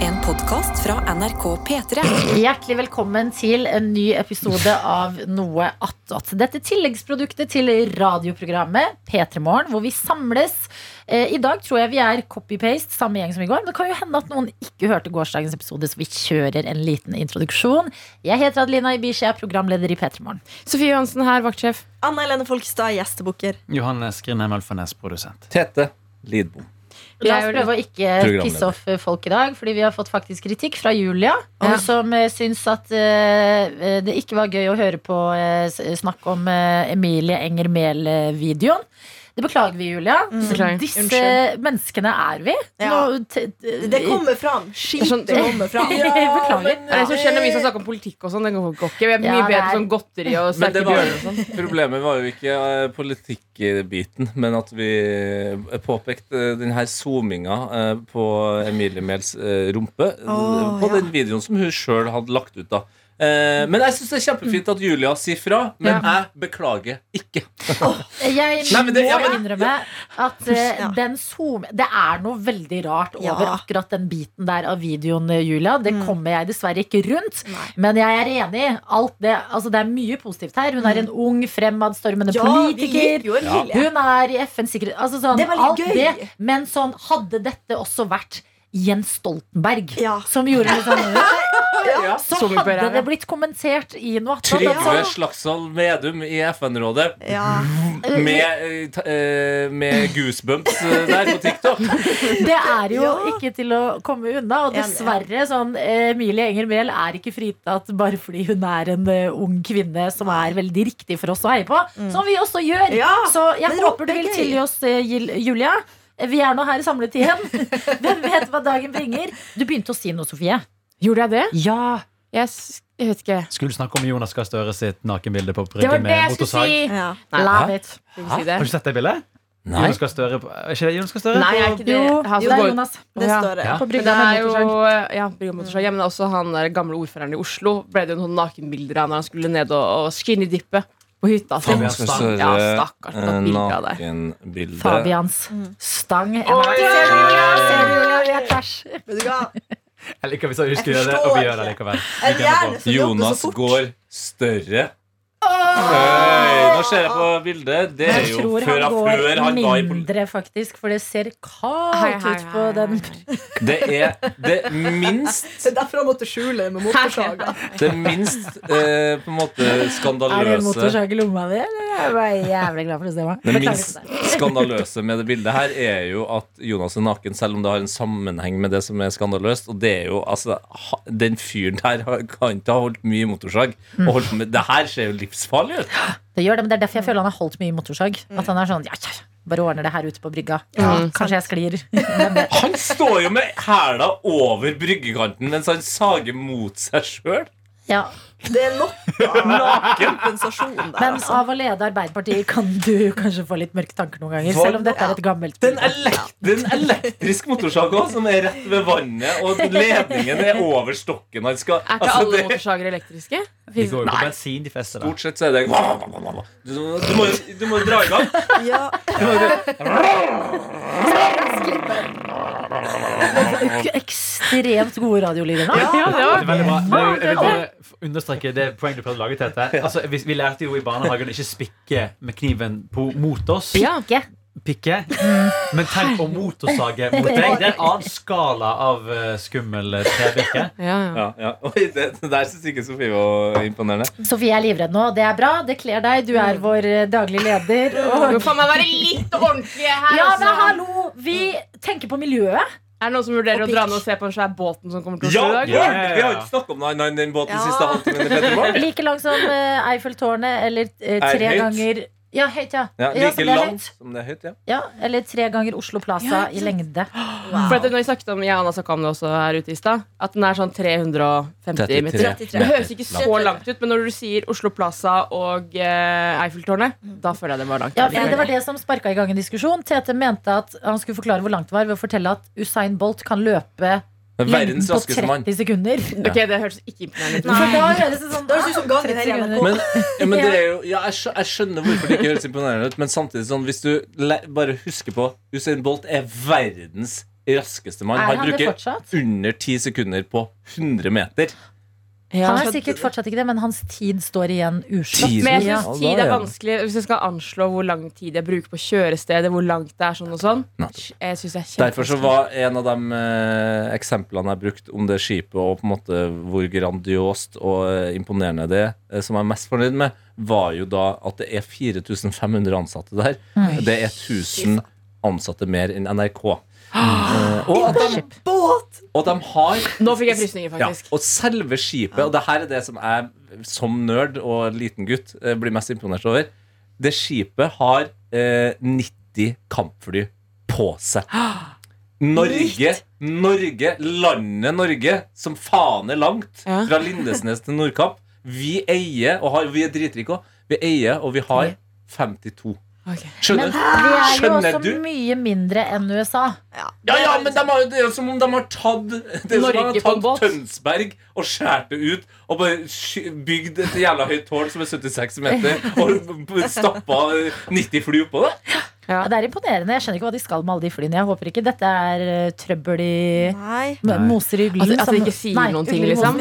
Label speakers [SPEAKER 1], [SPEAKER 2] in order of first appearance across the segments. [SPEAKER 1] En podkast fra NRK P3.
[SPEAKER 2] Hjertelig velkommen til en ny episode av Noe attåt. Dette tilleggsproduktet til radioprogrammet P3 Morgen, hvor vi samles. Eh, I dag tror jeg vi er copy-paste, samme gjeng som i går. Men det kan jo hende at noen ikke hørte gårsdagens episode, så vi kjører en liten introduksjon. Jeg heter Adelina Ibishi, jeg er programleder i P3 Morgen.
[SPEAKER 3] Sofie Johansen her, vaktsjef.
[SPEAKER 4] Anna Helene Folkestad, gjestebukker.
[SPEAKER 5] Johannes Grindheim Alfarnes, produsent.
[SPEAKER 6] Tete Lidbom.
[SPEAKER 2] La oss prøve å ikke
[SPEAKER 6] Programleder.
[SPEAKER 2] pisse off eh, folk i dag, fordi vi har fått faktisk kritikk fra Julia, eh, som eh, syns at eh, det ikke var gøy å høre på eh, s- snakk om eh, Emilie Enger Mehl-videoen. Det beklager vi, Julia.
[SPEAKER 3] Beklager.
[SPEAKER 2] Disse
[SPEAKER 4] Mm. Unnskyld.
[SPEAKER 2] menneskene er vi.
[SPEAKER 4] Ja.
[SPEAKER 2] Nå te-
[SPEAKER 4] Det kommer fram. Skit,
[SPEAKER 3] Sånn-
[SPEAKER 4] det kommer fram.
[SPEAKER 2] Beklager.
[SPEAKER 3] Det er det som skjer når vi skal snakke om politikk og sånn. Det går går ikke. Vi er mye
[SPEAKER 2] Ja, det
[SPEAKER 3] bedre
[SPEAKER 2] er-
[SPEAKER 3] på sånn godteri og
[SPEAKER 6] Men
[SPEAKER 3] sterke
[SPEAKER 6] det var,
[SPEAKER 3] bjørner og sånn.
[SPEAKER 6] problemet var jo ikke eh, politikkbiten, men at vi eh, påpekte denne zoominga eh, på Emilie Mehls eh, rumpe.
[SPEAKER 4] Åh,
[SPEAKER 6] på
[SPEAKER 4] ja.
[SPEAKER 6] den videoen som hun sjøl hadde lagt ut, da. Eh, men jeg syns det er kjempefint at Julia sier fra, men jeg beklager ikke.
[SPEAKER 2] Jeg
[SPEAKER 6] Nei, men det- ja,
[SPEAKER 2] må
[SPEAKER 6] men-
[SPEAKER 2] innrømme at eh,
[SPEAKER 4] Ja.
[SPEAKER 2] den zoom Det er noe veldig rart over
[SPEAKER 4] Ja. Mm.
[SPEAKER 2] akkurat den biten der av videoen, eh, Julia. Det kommer jeg dessverre ikke rundt. Men jeg er enig. Alt det, altså det er mye positivt her. Hun er en ung, fremadstormende
[SPEAKER 4] Mm. Ja, vi gikk
[SPEAKER 2] politiker.
[SPEAKER 4] jo en
[SPEAKER 6] Ja.
[SPEAKER 4] lille.
[SPEAKER 2] Hun er i FNs sikkerhet... Altså sånn,
[SPEAKER 4] Det var
[SPEAKER 2] alt
[SPEAKER 4] litt gøy.
[SPEAKER 2] det. Men sånn, hadde dette også vært Jens Stoltenberg,
[SPEAKER 4] Ja.
[SPEAKER 2] som gjorde det sånn,
[SPEAKER 4] Ja.
[SPEAKER 2] så
[SPEAKER 3] Som vi bare
[SPEAKER 2] hadde
[SPEAKER 3] er, ja.
[SPEAKER 2] det blitt kommentert i noe annet.
[SPEAKER 6] Trygve
[SPEAKER 2] Altså,
[SPEAKER 6] Slagsvold Vedum i FN-rådet
[SPEAKER 4] Ja.
[SPEAKER 6] med, eh, ta- eh, med goosebumps eh, der på TikTok.
[SPEAKER 2] Det er jo
[SPEAKER 4] Ja.
[SPEAKER 2] ikke til å komme unna. Og
[SPEAKER 4] Enig.
[SPEAKER 2] dessverre, sånn, eh, Emilie Enger Mehl er ikke fritatt bare fordi hun er en eh, ung kvinne som er veldig riktig for oss å heie på. Som vi også gjør.
[SPEAKER 4] Mm. Ja,
[SPEAKER 2] Så jeg
[SPEAKER 4] men
[SPEAKER 2] håper du
[SPEAKER 4] det er
[SPEAKER 2] vil
[SPEAKER 4] gøy.
[SPEAKER 2] tilgi oss, eh, Gil- Julia. Vi er nå her samlet igjen. Hvem vet hva dagen bringer? Du begynte å si noe, Sofie.
[SPEAKER 3] Gjorde jeg det?
[SPEAKER 2] Ja.
[SPEAKER 3] Jeg, s- jeg vet ikke.
[SPEAKER 5] Skulle snakke om Jonas Gahr Støre sitt nakenbilde på
[SPEAKER 3] Det var
[SPEAKER 5] bryggen
[SPEAKER 3] det
[SPEAKER 5] med
[SPEAKER 3] jeg skulle
[SPEAKER 5] motorsag.
[SPEAKER 3] si!
[SPEAKER 4] Ja.
[SPEAKER 3] Nei,
[SPEAKER 2] Love
[SPEAKER 5] Hæ?
[SPEAKER 2] it.
[SPEAKER 3] skal vi si det?
[SPEAKER 5] Har du sett det bildet?
[SPEAKER 6] Nei.
[SPEAKER 5] Jonas Gahr Støre på- Er ikke det Jonas Gahr Støre?
[SPEAKER 3] Nei, er ikke det
[SPEAKER 2] Jo,
[SPEAKER 3] han
[SPEAKER 2] jo,
[SPEAKER 3] som
[SPEAKER 2] det er
[SPEAKER 3] går-
[SPEAKER 2] Jonas.
[SPEAKER 4] Det
[SPEAKER 3] Ja.
[SPEAKER 4] står det.
[SPEAKER 5] Ja.
[SPEAKER 4] På
[SPEAKER 3] Men
[SPEAKER 4] brygga
[SPEAKER 3] det er
[SPEAKER 4] med
[SPEAKER 3] jo
[SPEAKER 4] motorsag.
[SPEAKER 3] ja, brygga motorsag. Ja, men også han der gamle ordføreren i Oslo ble det jo noen nakenbilder av når han skulle ned og, og skinny dippe på hytta si.
[SPEAKER 6] Jonas Gahr Støre,
[SPEAKER 3] Ja, stakkars,
[SPEAKER 6] eh,
[SPEAKER 3] tatt bilder av deg.
[SPEAKER 6] Nakenbilde.
[SPEAKER 2] Fabians stang. Jeg ser du, Julia? Ser du, Julia? Vi er tvers.
[SPEAKER 4] Vet du hva?
[SPEAKER 5] Jeg liker vi sa vi skulle
[SPEAKER 4] Jeg
[SPEAKER 5] gjøre det, og vi
[SPEAKER 4] forstår
[SPEAKER 5] gjør det
[SPEAKER 4] ikke.
[SPEAKER 5] likevel. Vi
[SPEAKER 4] En
[SPEAKER 5] gønner
[SPEAKER 4] hjerne
[SPEAKER 5] på.
[SPEAKER 4] som jobber så
[SPEAKER 6] Jonas
[SPEAKER 4] fort.
[SPEAKER 6] går større. Oi, nå ser jeg på bildet. Det er
[SPEAKER 2] Ah! Jeg
[SPEAKER 6] jo
[SPEAKER 2] tror
[SPEAKER 6] før
[SPEAKER 2] han
[SPEAKER 6] han,
[SPEAKER 2] går
[SPEAKER 6] før han var i politiet.
[SPEAKER 2] mindre, faktisk, for det ser
[SPEAKER 3] Hei,
[SPEAKER 2] kaldt
[SPEAKER 3] hei,
[SPEAKER 2] ut på
[SPEAKER 3] hei,
[SPEAKER 2] den.
[SPEAKER 3] hei.
[SPEAKER 6] Det er det minst,
[SPEAKER 4] Det er derfor han måtte skjule med motorsaga.
[SPEAKER 6] det minst eh, på en måte
[SPEAKER 2] Er det en
[SPEAKER 6] skandaløse
[SPEAKER 2] motorsag i lomma di? eller? Jeg er bare jævlig glad for å se meg.
[SPEAKER 6] det
[SPEAKER 2] Beklager
[SPEAKER 6] minst
[SPEAKER 2] til deg.
[SPEAKER 6] skandaløse med det bildet her er jo at Jonas er naken, selv om det har en sammenheng med det som er skandaløst. Og det er jo, altså, ha- Den fyren der har- kan ikke ha holdt mye motorsag. Og holdt på med, det her ser jo livsfarlig ut!
[SPEAKER 2] Det gjør det, men det er derfor jeg føler han har holdt mye motorsag. At han er sånn, ja, ja, bare ordner det her ute på brygga.
[SPEAKER 3] Ja,
[SPEAKER 2] Kanskje jeg sklir.
[SPEAKER 6] Han står jo med hæla over bryggekanten mens han sager mot seg sjøl.
[SPEAKER 2] Ja.
[SPEAKER 4] Det er nok av kompensasjon der,
[SPEAKER 2] Men
[SPEAKER 4] altså.
[SPEAKER 2] av å lede Arbeiderpartiet kan du kanskje få litt mørke tanker noen ganger,
[SPEAKER 6] Hva-
[SPEAKER 2] selv om dette er et gammelt
[SPEAKER 6] Den, elekt den elektrisk motorsaga som er rett ved vannet, og ledningen er over stokken. Han skal,
[SPEAKER 3] Er ikke
[SPEAKER 6] altså,
[SPEAKER 3] alle
[SPEAKER 6] det-
[SPEAKER 3] motorsager elektriske?
[SPEAKER 5] De går jo på bensin, de fleste der.
[SPEAKER 6] Stort sett så er det Du, du, må, jo- du må jo dra i gang.
[SPEAKER 4] Ja.
[SPEAKER 2] Ekstremt gode radiolyder nå.
[SPEAKER 3] Ja, det
[SPEAKER 5] Det er
[SPEAKER 3] var
[SPEAKER 5] veldig bra. Men jeg, jeg vil bare f- understreke det poenget du prøvde å lage, Tete. Altså, vi, vi lærte jo i barnehagen å ikke spikke med kniven på, mot oss.
[SPEAKER 3] ja.
[SPEAKER 2] Ikke.
[SPEAKER 5] Pikke. Men tenk på motorsage mot deg. Det er en annen skala av eh, skummel eh, trevirke.
[SPEAKER 3] Ja, ja.
[SPEAKER 6] Ja, ja. Oi, det, det der syns ikke Sofie var imponerende.
[SPEAKER 2] Sofie er livredd nå, det er bra, det kler deg, du er vår eh, daglig leder. Og
[SPEAKER 3] Mm. Du må faen meg være litt ordentlig her.
[SPEAKER 2] Ja,
[SPEAKER 3] altså.
[SPEAKER 2] men hallo! Vi tenker på miljøet.
[SPEAKER 3] Er det noen som vurderer å dra ned og se på den svære båten som kommer til
[SPEAKER 6] Ja,
[SPEAKER 3] Oslo i dag?
[SPEAKER 6] ja, Vi har jo ikke snakket om den, den, den båten siste halvtimen. i Petter Morgen.
[SPEAKER 2] Like lang som eh, Eiffeltårnet, eller eh,
[SPEAKER 6] Er
[SPEAKER 2] tre
[SPEAKER 6] høyt?
[SPEAKER 2] ganger Ja, høyt, ja.
[SPEAKER 6] Ja,
[SPEAKER 2] så
[SPEAKER 6] like
[SPEAKER 2] det er
[SPEAKER 6] lang
[SPEAKER 2] høyt.
[SPEAKER 6] som det er høyt. Ja.
[SPEAKER 2] Ja, eller tre ganger Oslo Plaza i lengde.
[SPEAKER 3] For at når vi snakket om, Jeg og Anna snakket om det også her ute i stad. At den er sånn 350 meter.
[SPEAKER 4] 33.
[SPEAKER 3] Det høres ikke så langt ut, men når du sier Oslo Plaza og eh, Eiffeltårnet, da føler jeg det var langt.
[SPEAKER 2] Mm. Ja, fordi Det var det som sparka i gang en diskusjon. Tete mente at han skulle forklare hvor langt det var ved å fortelle at Usain Bolt kan løpe lengden
[SPEAKER 6] Verdens
[SPEAKER 2] på
[SPEAKER 6] raskeste mann.
[SPEAKER 2] 30 sekunder.
[SPEAKER 3] Ok, det hørtes ikke imponerende ut.
[SPEAKER 2] For da høres det sånn
[SPEAKER 4] Det høres ut som gangen
[SPEAKER 2] 30
[SPEAKER 4] her i
[SPEAKER 2] sekunder.
[SPEAKER 4] NRK.
[SPEAKER 6] Men, ja, men det er jo, ja, jeg, skjø, jeg skjønner hvorfor det ikke høres imponerende ut, men samtidig sånn, hvis du le, bare husker på Usain Bolt er verdens raskeste mann.
[SPEAKER 2] Er
[SPEAKER 6] Han,
[SPEAKER 2] han det
[SPEAKER 6] bruker
[SPEAKER 2] fortsatt?
[SPEAKER 6] under ti sekunder på 100 meter.
[SPEAKER 2] Han er sikkert fortsatt ikke det, men hans tid står igjen uslått.
[SPEAKER 6] Tid.
[SPEAKER 3] Men jeg
[SPEAKER 2] Ja.
[SPEAKER 3] synes
[SPEAKER 6] Ja,
[SPEAKER 3] tid er
[SPEAKER 6] da er det.
[SPEAKER 3] vanskelig Hvis jeg skal anslå hvor lang tid jeg bruker på kjørestedet, hvor langt det er sånn og sånn
[SPEAKER 6] Nettopp.
[SPEAKER 3] Jeg synes det er kjempe-
[SPEAKER 6] Derfor så var en av de eh, eksemplene jeg brukte om det skipet og på en måte hvor grandiost og eh, imponerende det er, eh, som jeg er mest fornøyd med, var jo da at det er 4500 ansatte der. Det er 1000 ansatte mer enn NRK. Eh, og, at de,
[SPEAKER 4] Båt!
[SPEAKER 6] og at de har
[SPEAKER 3] Nå fikk jeg frysninger,
[SPEAKER 6] ja,
[SPEAKER 3] faktisk.
[SPEAKER 6] Og selve skipet, og det her er det som jeg som nerd og liten gutt eh, blir mest imponert over. Det skipet har eh, 90 kampfly på seg. Norge, Norge, landet Norge, som faen er langt,
[SPEAKER 3] Ja.
[SPEAKER 6] fra Lindesnes til Nordkapp. Vi eier, og har, vi er dritrike òg, vi eier, og vi har 52.
[SPEAKER 3] Ok.
[SPEAKER 2] Men
[SPEAKER 6] Skjønner
[SPEAKER 2] det er jo
[SPEAKER 6] Skjønner
[SPEAKER 2] også
[SPEAKER 6] du?
[SPEAKER 2] mye mindre enn USA.
[SPEAKER 6] Ja, ja, men de har, jo- det er jo som om de har tatt Det er som om de
[SPEAKER 3] Norge
[SPEAKER 6] har
[SPEAKER 3] på en
[SPEAKER 6] tatt
[SPEAKER 3] båt.
[SPEAKER 6] Tønsberg og skjært det ut og bare sky- bygd et jævla høyt tårn som er 76 meter, og b- stappa 90 fly oppå det.
[SPEAKER 2] Ja, det er imponerende. Jeg skjønner ikke hva de skal med alle de flyene. Jeg håper ikke dette er eh, trøbbel i
[SPEAKER 4] Nei.
[SPEAKER 2] M- Moser i
[SPEAKER 3] At-
[SPEAKER 2] uglen.
[SPEAKER 3] Altså, at
[SPEAKER 2] som-
[SPEAKER 3] de ikke sier
[SPEAKER 2] Nei,
[SPEAKER 3] noen ting,
[SPEAKER 2] ugler i
[SPEAKER 3] liksom.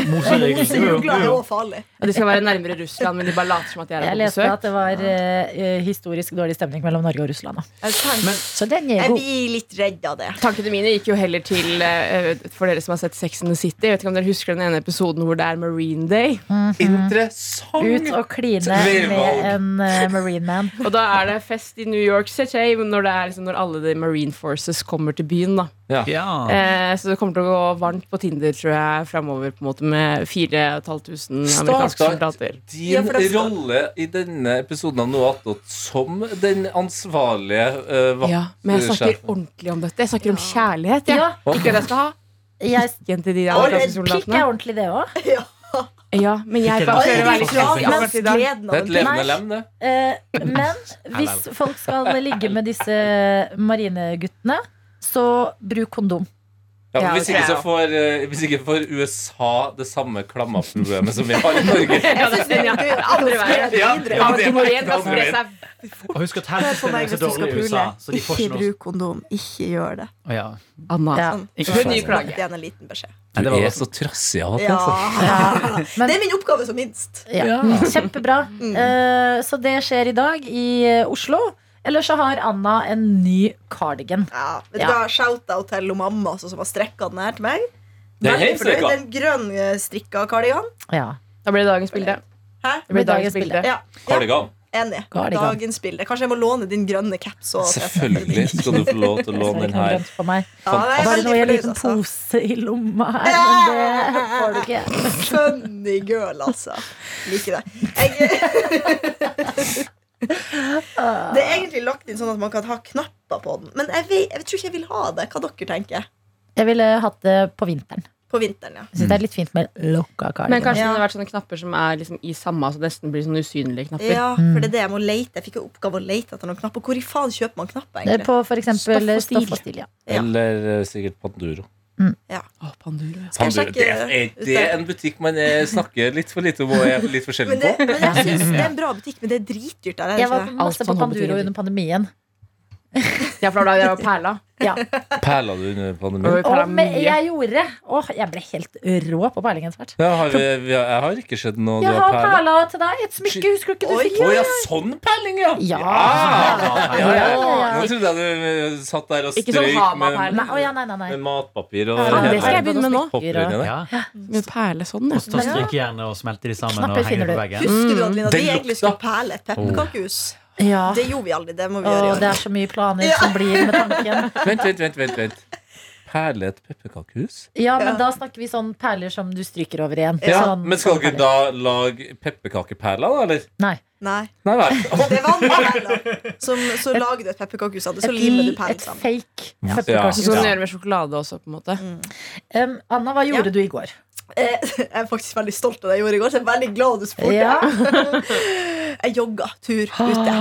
[SPEAKER 2] mosen.
[SPEAKER 4] Ugla er også farlig.
[SPEAKER 3] Og de skal være nærmere Russland, men de bare later som at de er
[SPEAKER 2] Jeg
[SPEAKER 3] der på
[SPEAKER 2] leste
[SPEAKER 3] besøk.
[SPEAKER 2] at det var eh, eh, historisk dårlig stemning mellom Norge og Russland. da.
[SPEAKER 4] Er det sant?
[SPEAKER 2] Så den er
[SPEAKER 4] Jeg
[SPEAKER 2] god.
[SPEAKER 4] blir litt redd av det.
[SPEAKER 3] Tankene mine gikk jo heller til eh, For dere som har sett Sex and the City. Jeg vet ikke om dere husker den ene episoden hvor det er Marine Day.
[SPEAKER 2] Ut
[SPEAKER 6] Interessant!
[SPEAKER 2] og kline
[SPEAKER 6] Veivalg.
[SPEAKER 2] med en eh, marine man.
[SPEAKER 3] Og da er det fest i New York City når, det er, liksom, når alle de Marine Forces kommer til byen. da
[SPEAKER 5] Ja.
[SPEAKER 3] Eh, så det kommer til å gå varmt på Tinder tror jeg framover på en måte med 4500 amerikanske
[SPEAKER 6] Stakkar.
[SPEAKER 3] soldater.
[SPEAKER 4] Ja,
[SPEAKER 6] Din
[SPEAKER 4] for det-
[SPEAKER 6] rolle i denne episoden av Noe attåt som den ansvarlige uh,
[SPEAKER 3] Ja, men jeg snakker ordentlig om dette. Jeg snakker om kjærlighet. Jeg.
[SPEAKER 2] Ja.
[SPEAKER 3] Ikke at jeg skal ha
[SPEAKER 2] Jeg,
[SPEAKER 3] igjen til de
[SPEAKER 4] Oi,
[SPEAKER 3] amerikanske
[SPEAKER 2] pikk er
[SPEAKER 3] soldatene.
[SPEAKER 2] ordentlig, det òg.
[SPEAKER 3] Ja, men jeg
[SPEAKER 5] Ikke det.
[SPEAKER 3] prøver å være
[SPEAKER 5] veldig
[SPEAKER 4] Oi,
[SPEAKER 3] litt
[SPEAKER 5] klart,
[SPEAKER 3] forsiktig akkurat i dag.
[SPEAKER 4] gleden
[SPEAKER 6] Det er
[SPEAKER 4] av
[SPEAKER 6] et
[SPEAKER 4] det.
[SPEAKER 6] levende lem, det.
[SPEAKER 2] Eh, men hvis folk skal ligge med disse marineguttene, så bruk kondom.
[SPEAKER 6] Ja, men
[SPEAKER 3] Ja,
[SPEAKER 6] hvis,
[SPEAKER 3] det
[SPEAKER 6] ikke
[SPEAKER 3] tror
[SPEAKER 6] så
[SPEAKER 3] jeg
[SPEAKER 6] får, eh, hvis ikke får USA det samme klammaproblemet som vi har i Norge.
[SPEAKER 3] Ja, det er ja. Andre veien.
[SPEAKER 6] Ja,
[SPEAKER 3] Ja,
[SPEAKER 6] ja,
[SPEAKER 3] de må igjen
[SPEAKER 6] det
[SPEAKER 3] da spre
[SPEAKER 6] er-
[SPEAKER 3] seg.
[SPEAKER 5] Og husk at
[SPEAKER 4] Hør på meg
[SPEAKER 5] helsesystemet er
[SPEAKER 4] hvis
[SPEAKER 5] så
[SPEAKER 4] du skal
[SPEAKER 5] dårlig i
[SPEAKER 4] pule.
[SPEAKER 5] USA. Så de får
[SPEAKER 4] Ikke
[SPEAKER 5] ikke noe
[SPEAKER 4] bruk kondom. Ikke gjør det.
[SPEAKER 5] Å, ja.
[SPEAKER 3] Anna.
[SPEAKER 2] Ja.
[SPEAKER 4] Sånn.
[SPEAKER 5] Ikke
[SPEAKER 3] Hun
[SPEAKER 5] faen.
[SPEAKER 3] ny plage.
[SPEAKER 4] Det er en liten beskjed.
[SPEAKER 5] Nei, det var
[SPEAKER 6] Du er
[SPEAKER 5] også-
[SPEAKER 6] så trassig av og til.
[SPEAKER 4] Ja.
[SPEAKER 6] altså.
[SPEAKER 2] Men-
[SPEAKER 4] Det er min oppgave som minst.
[SPEAKER 2] Ja. Kjempebra.
[SPEAKER 4] Mm.
[SPEAKER 2] Eh, så det skjer i dag i eh, Oslo. Eller så har Anna en ny cardigan.
[SPEAKER 4] Ja, vet du
[SPEAKER 2] Ja.
[SPEAKER 4] hva, Shout-out til lo mamma altså, som har strekka den her til meg.
[SPEAKER 6] Det er
[SPEAKER 4] Veldig fornøyd.
[SPEAKER 6] helt strikka.
[SPEAKER 4] Den grønne strikka kardigan.
[SPEAKER 2] Ja.
[SPEAKER 3] Da blir det dagens bilde.
[SPEAKER 4] Hæ?
[SPEAKER 3] Det blir dagens bilde.
[SPEAKER 4] Ja, ja
[SPEAKER 6] Cardigan.
[SPEAKER 4] enig.
[SPEAKER 2] Kardigan.
[SPEAKER 4] Dagens bilde. Kanskje jeg må låne din grønne caps. Og
[SPEAKER 6] Selvfølgelig skal du få lov til
[SPEAKER 2] Så
[SPEAKER 6] å
[SPEAKER 2] er det
[SPEAKER 6] låne den
[SPEAKER 2] ikke noe
[SPEAKER 6] her.
[SPEAKER 2] grønt på meg.
[SPEAKER 4] Ja, det
[SPEAKER 2] Bare
[SPEAKER 4] er veldig
[SPEAKER 2] noe i en
[SPEAKER 4] fornøyd,
[SPEAKER 2] liten
[SPEAKER 4] altså.
[SPEAKER 2] pose i lomma her. Men det får du ikke.
[SPEAKER 4] Funny girl, altså. Liker det. Jeg... Det er egentlig lagt inn sånn at man kan ha knapper på den. Men jeg, vet, jeg tror ikke jeg vil ha det. Hva dere tenker
[SPEAKER 2] Jeg ville hatt det på vinteren.
[SPEAKER 4] På vinteren, ja.
[SPEAKER 2] Jeg synes det er litt fint med lokka
[SPEAKER 3] Men
[SPEAKER 2] cardigan.
[SPEAKER 3] kanskje det
[SPEAKER 4] Ja.
[SPEAKER 3] hadde vært sånne knapper som er liksom i samme, så det nesten blir sånne usynlige knapper.
[SPEAKER 4] Ja, for det er det jeg må leite. Jeg fikk jo oppgave å leite etter noen knapper. Hvor i faen kjøper man knapper,
[SPEAKER 2] Det er
[SPEAKER 4] egentlig?
[SPEAKER 2] På for eksempel
[SPEAKER 3] Stoff og stil.
[SPEAKER 2] stoff og stil. Ja.
[SPEAKER 4] Ja.
[SPEAKER 6] Eller eh, sikkert Panduro.
[SPEAKER 3] Å, Panduro.
[SPEAKER 4] Skal jeg
[SPEAKER 6] Panduro
[SPEAKER 4] sjekke
[SPEAKER 6] det, er,
[SPEAKER 4] ut
[SPEAKER 6] er det
[SPEAKER 4] det?
[SPEAKER 6] en butikk man eh, snakker litt for lite om og er litt forskjellig
[SPEAKER 4] Men, det,
[SPEAKER 6] på?
[SPEAKER 4] men jeg synes det er en bra butikk, men det er dritdyrt der. er det
[SPEAKER 2] Jeg
[SPEAKER 4] ikke
[SPEAKER 2] var
[SPEAKER 4] det?
[SPEAKER 2] masse
[SPEAKER 3] Alt
[SPEAKER 2] på
[SPEAKER 3] som håper til
[SPEAKER 2] Panduro
[SPEAKER 3] jul.
[SPEAKER 2] under pandemien.
[SPEAKER 3] Ja, for da var det perla.
[SPEAKER 2] Ja.
[SPEAKER 6] Perla du under
[SPEAKER 3] Og
[SPEAKER 6] pandemien?
[SPEAKER 3] vi perla
[SPEAKER 2] Og med,
[SPEAKER 3] mye.
[SPEAKER 2] jeg gjorde det! Åh, jeg ble helt rå på perlingen snart.
[SPEAKER 6] Ja, har vi, vi har, jeg har ikke sett noe du
[SPEAKER 2] Jeg
[SPEAKER 6] har
[SPEAKER 2] har
[SPEAKER 6] perla.
[SPEAKER 2] perla til deg. Et smykke, husker du ikke du
[SPEAKER 4] Oi.
[SPEAKER 2] fikk?
[SPEAKER 6] Å ja, sånn perling, ja!
[SPEAKER 2] Ja.
[SPEAKER 6] ja, ja, ja.
[SPEAKER 2] Ja.
[SPEAKER 6] Nå trodde jeg du eh, satt der og
[SPEAKER 3] Ikke sånn
[SPEAKER 6] strøyk med,
[SPEAKER 3] Hama-perle.
[SPEAKER 2] Nei, å ja, nei, nei, nei.
[SPEAKER 6] med matpapir og
[SPEAKER 2] Perla,
[SPEAKER 3] Ja,
[SPEAKER 6] hele
[SPEAKER 3] det skal jeg begynne med nå.
[SPEAKER 6] popper inn i det.
[SPEAKER 5] Ja.
[SPEAKER 3] Med perle sånn, ja.
[SPEAKER 5] Og så tar strykejernene og smelter de sammen
[SPEAKER 2] Knapper
[SPEAKER 5] og henger
[SPEAKER 2] finner
[SPEAKER 5] på
[SPEAKER 2] du.
[SPEAKER 5] veggen.
[SPEAKER 4] Husker du Adelina, at
[SPEAKER 6] Den
[SPEAKER 4] vi egentlig
[SPEAKER 6] lukta.
[SPEAKER 4] skulle perle et pepperkakehus?
[SPEAKER 2] Ja.
[SPEAKER 4] Det gjorde vi aldri. Det må vi
[SPEAKER 2] Åh,
[SPEAKER 4] gjøre i
[SPEAKER 2] det
[SPEAKER 4] år.
[SPEAKER 2] er så mye planer som blir med tanken.
[SPEAKER 6] Vent, vent, vent, vent, vent. Perle et pepperkakehus?
[SPEAKER 2] Ja, men da snakker vi sånn perler som du stryker over igjen.
[SPEAKER 6] Ja,
[SPEAKER 2] sånn,
[SPEAKER 6] men skal
[SPEAKER 2] sånn
[SPEAKER 6] dere
[SPEAKER 2] perler.
[SPEAKER 6] da lage pepperkakeperler, da, eller?
[SPEAKER 2] Nei.
[SPEAKER 4] Nei.
[SPEAKER 6] Nei vel.
[SPEAKER 4] Det var andre perler. Som, så lager du et pepperkakehus av det, så limer du perlen
[SPEAKER 2] et
[SPEAKER 4] sammen.
[SPEAKER 2] fake
[SPEAKER 3] Så
[SPEAKER 6] Ja.
[SPEAKER 3] skal
[SPEAKER 2] pepperkakehus.
[SPEAKER 3] man gjøre med sjokolade også, på en måte.
[SPEAKER 4] Mm.
[SPEAKER 2] Um, Anna, hva gjorde du i går?
[SPEAKER 4] Eh, Jeg er faktisk veldig stolt av det jeg gjorde i går. Så jeg er veldig glad du spurte.
[SPEAKER 2] Ja.
[SPEAKER 4] Jeg jogga tur ute.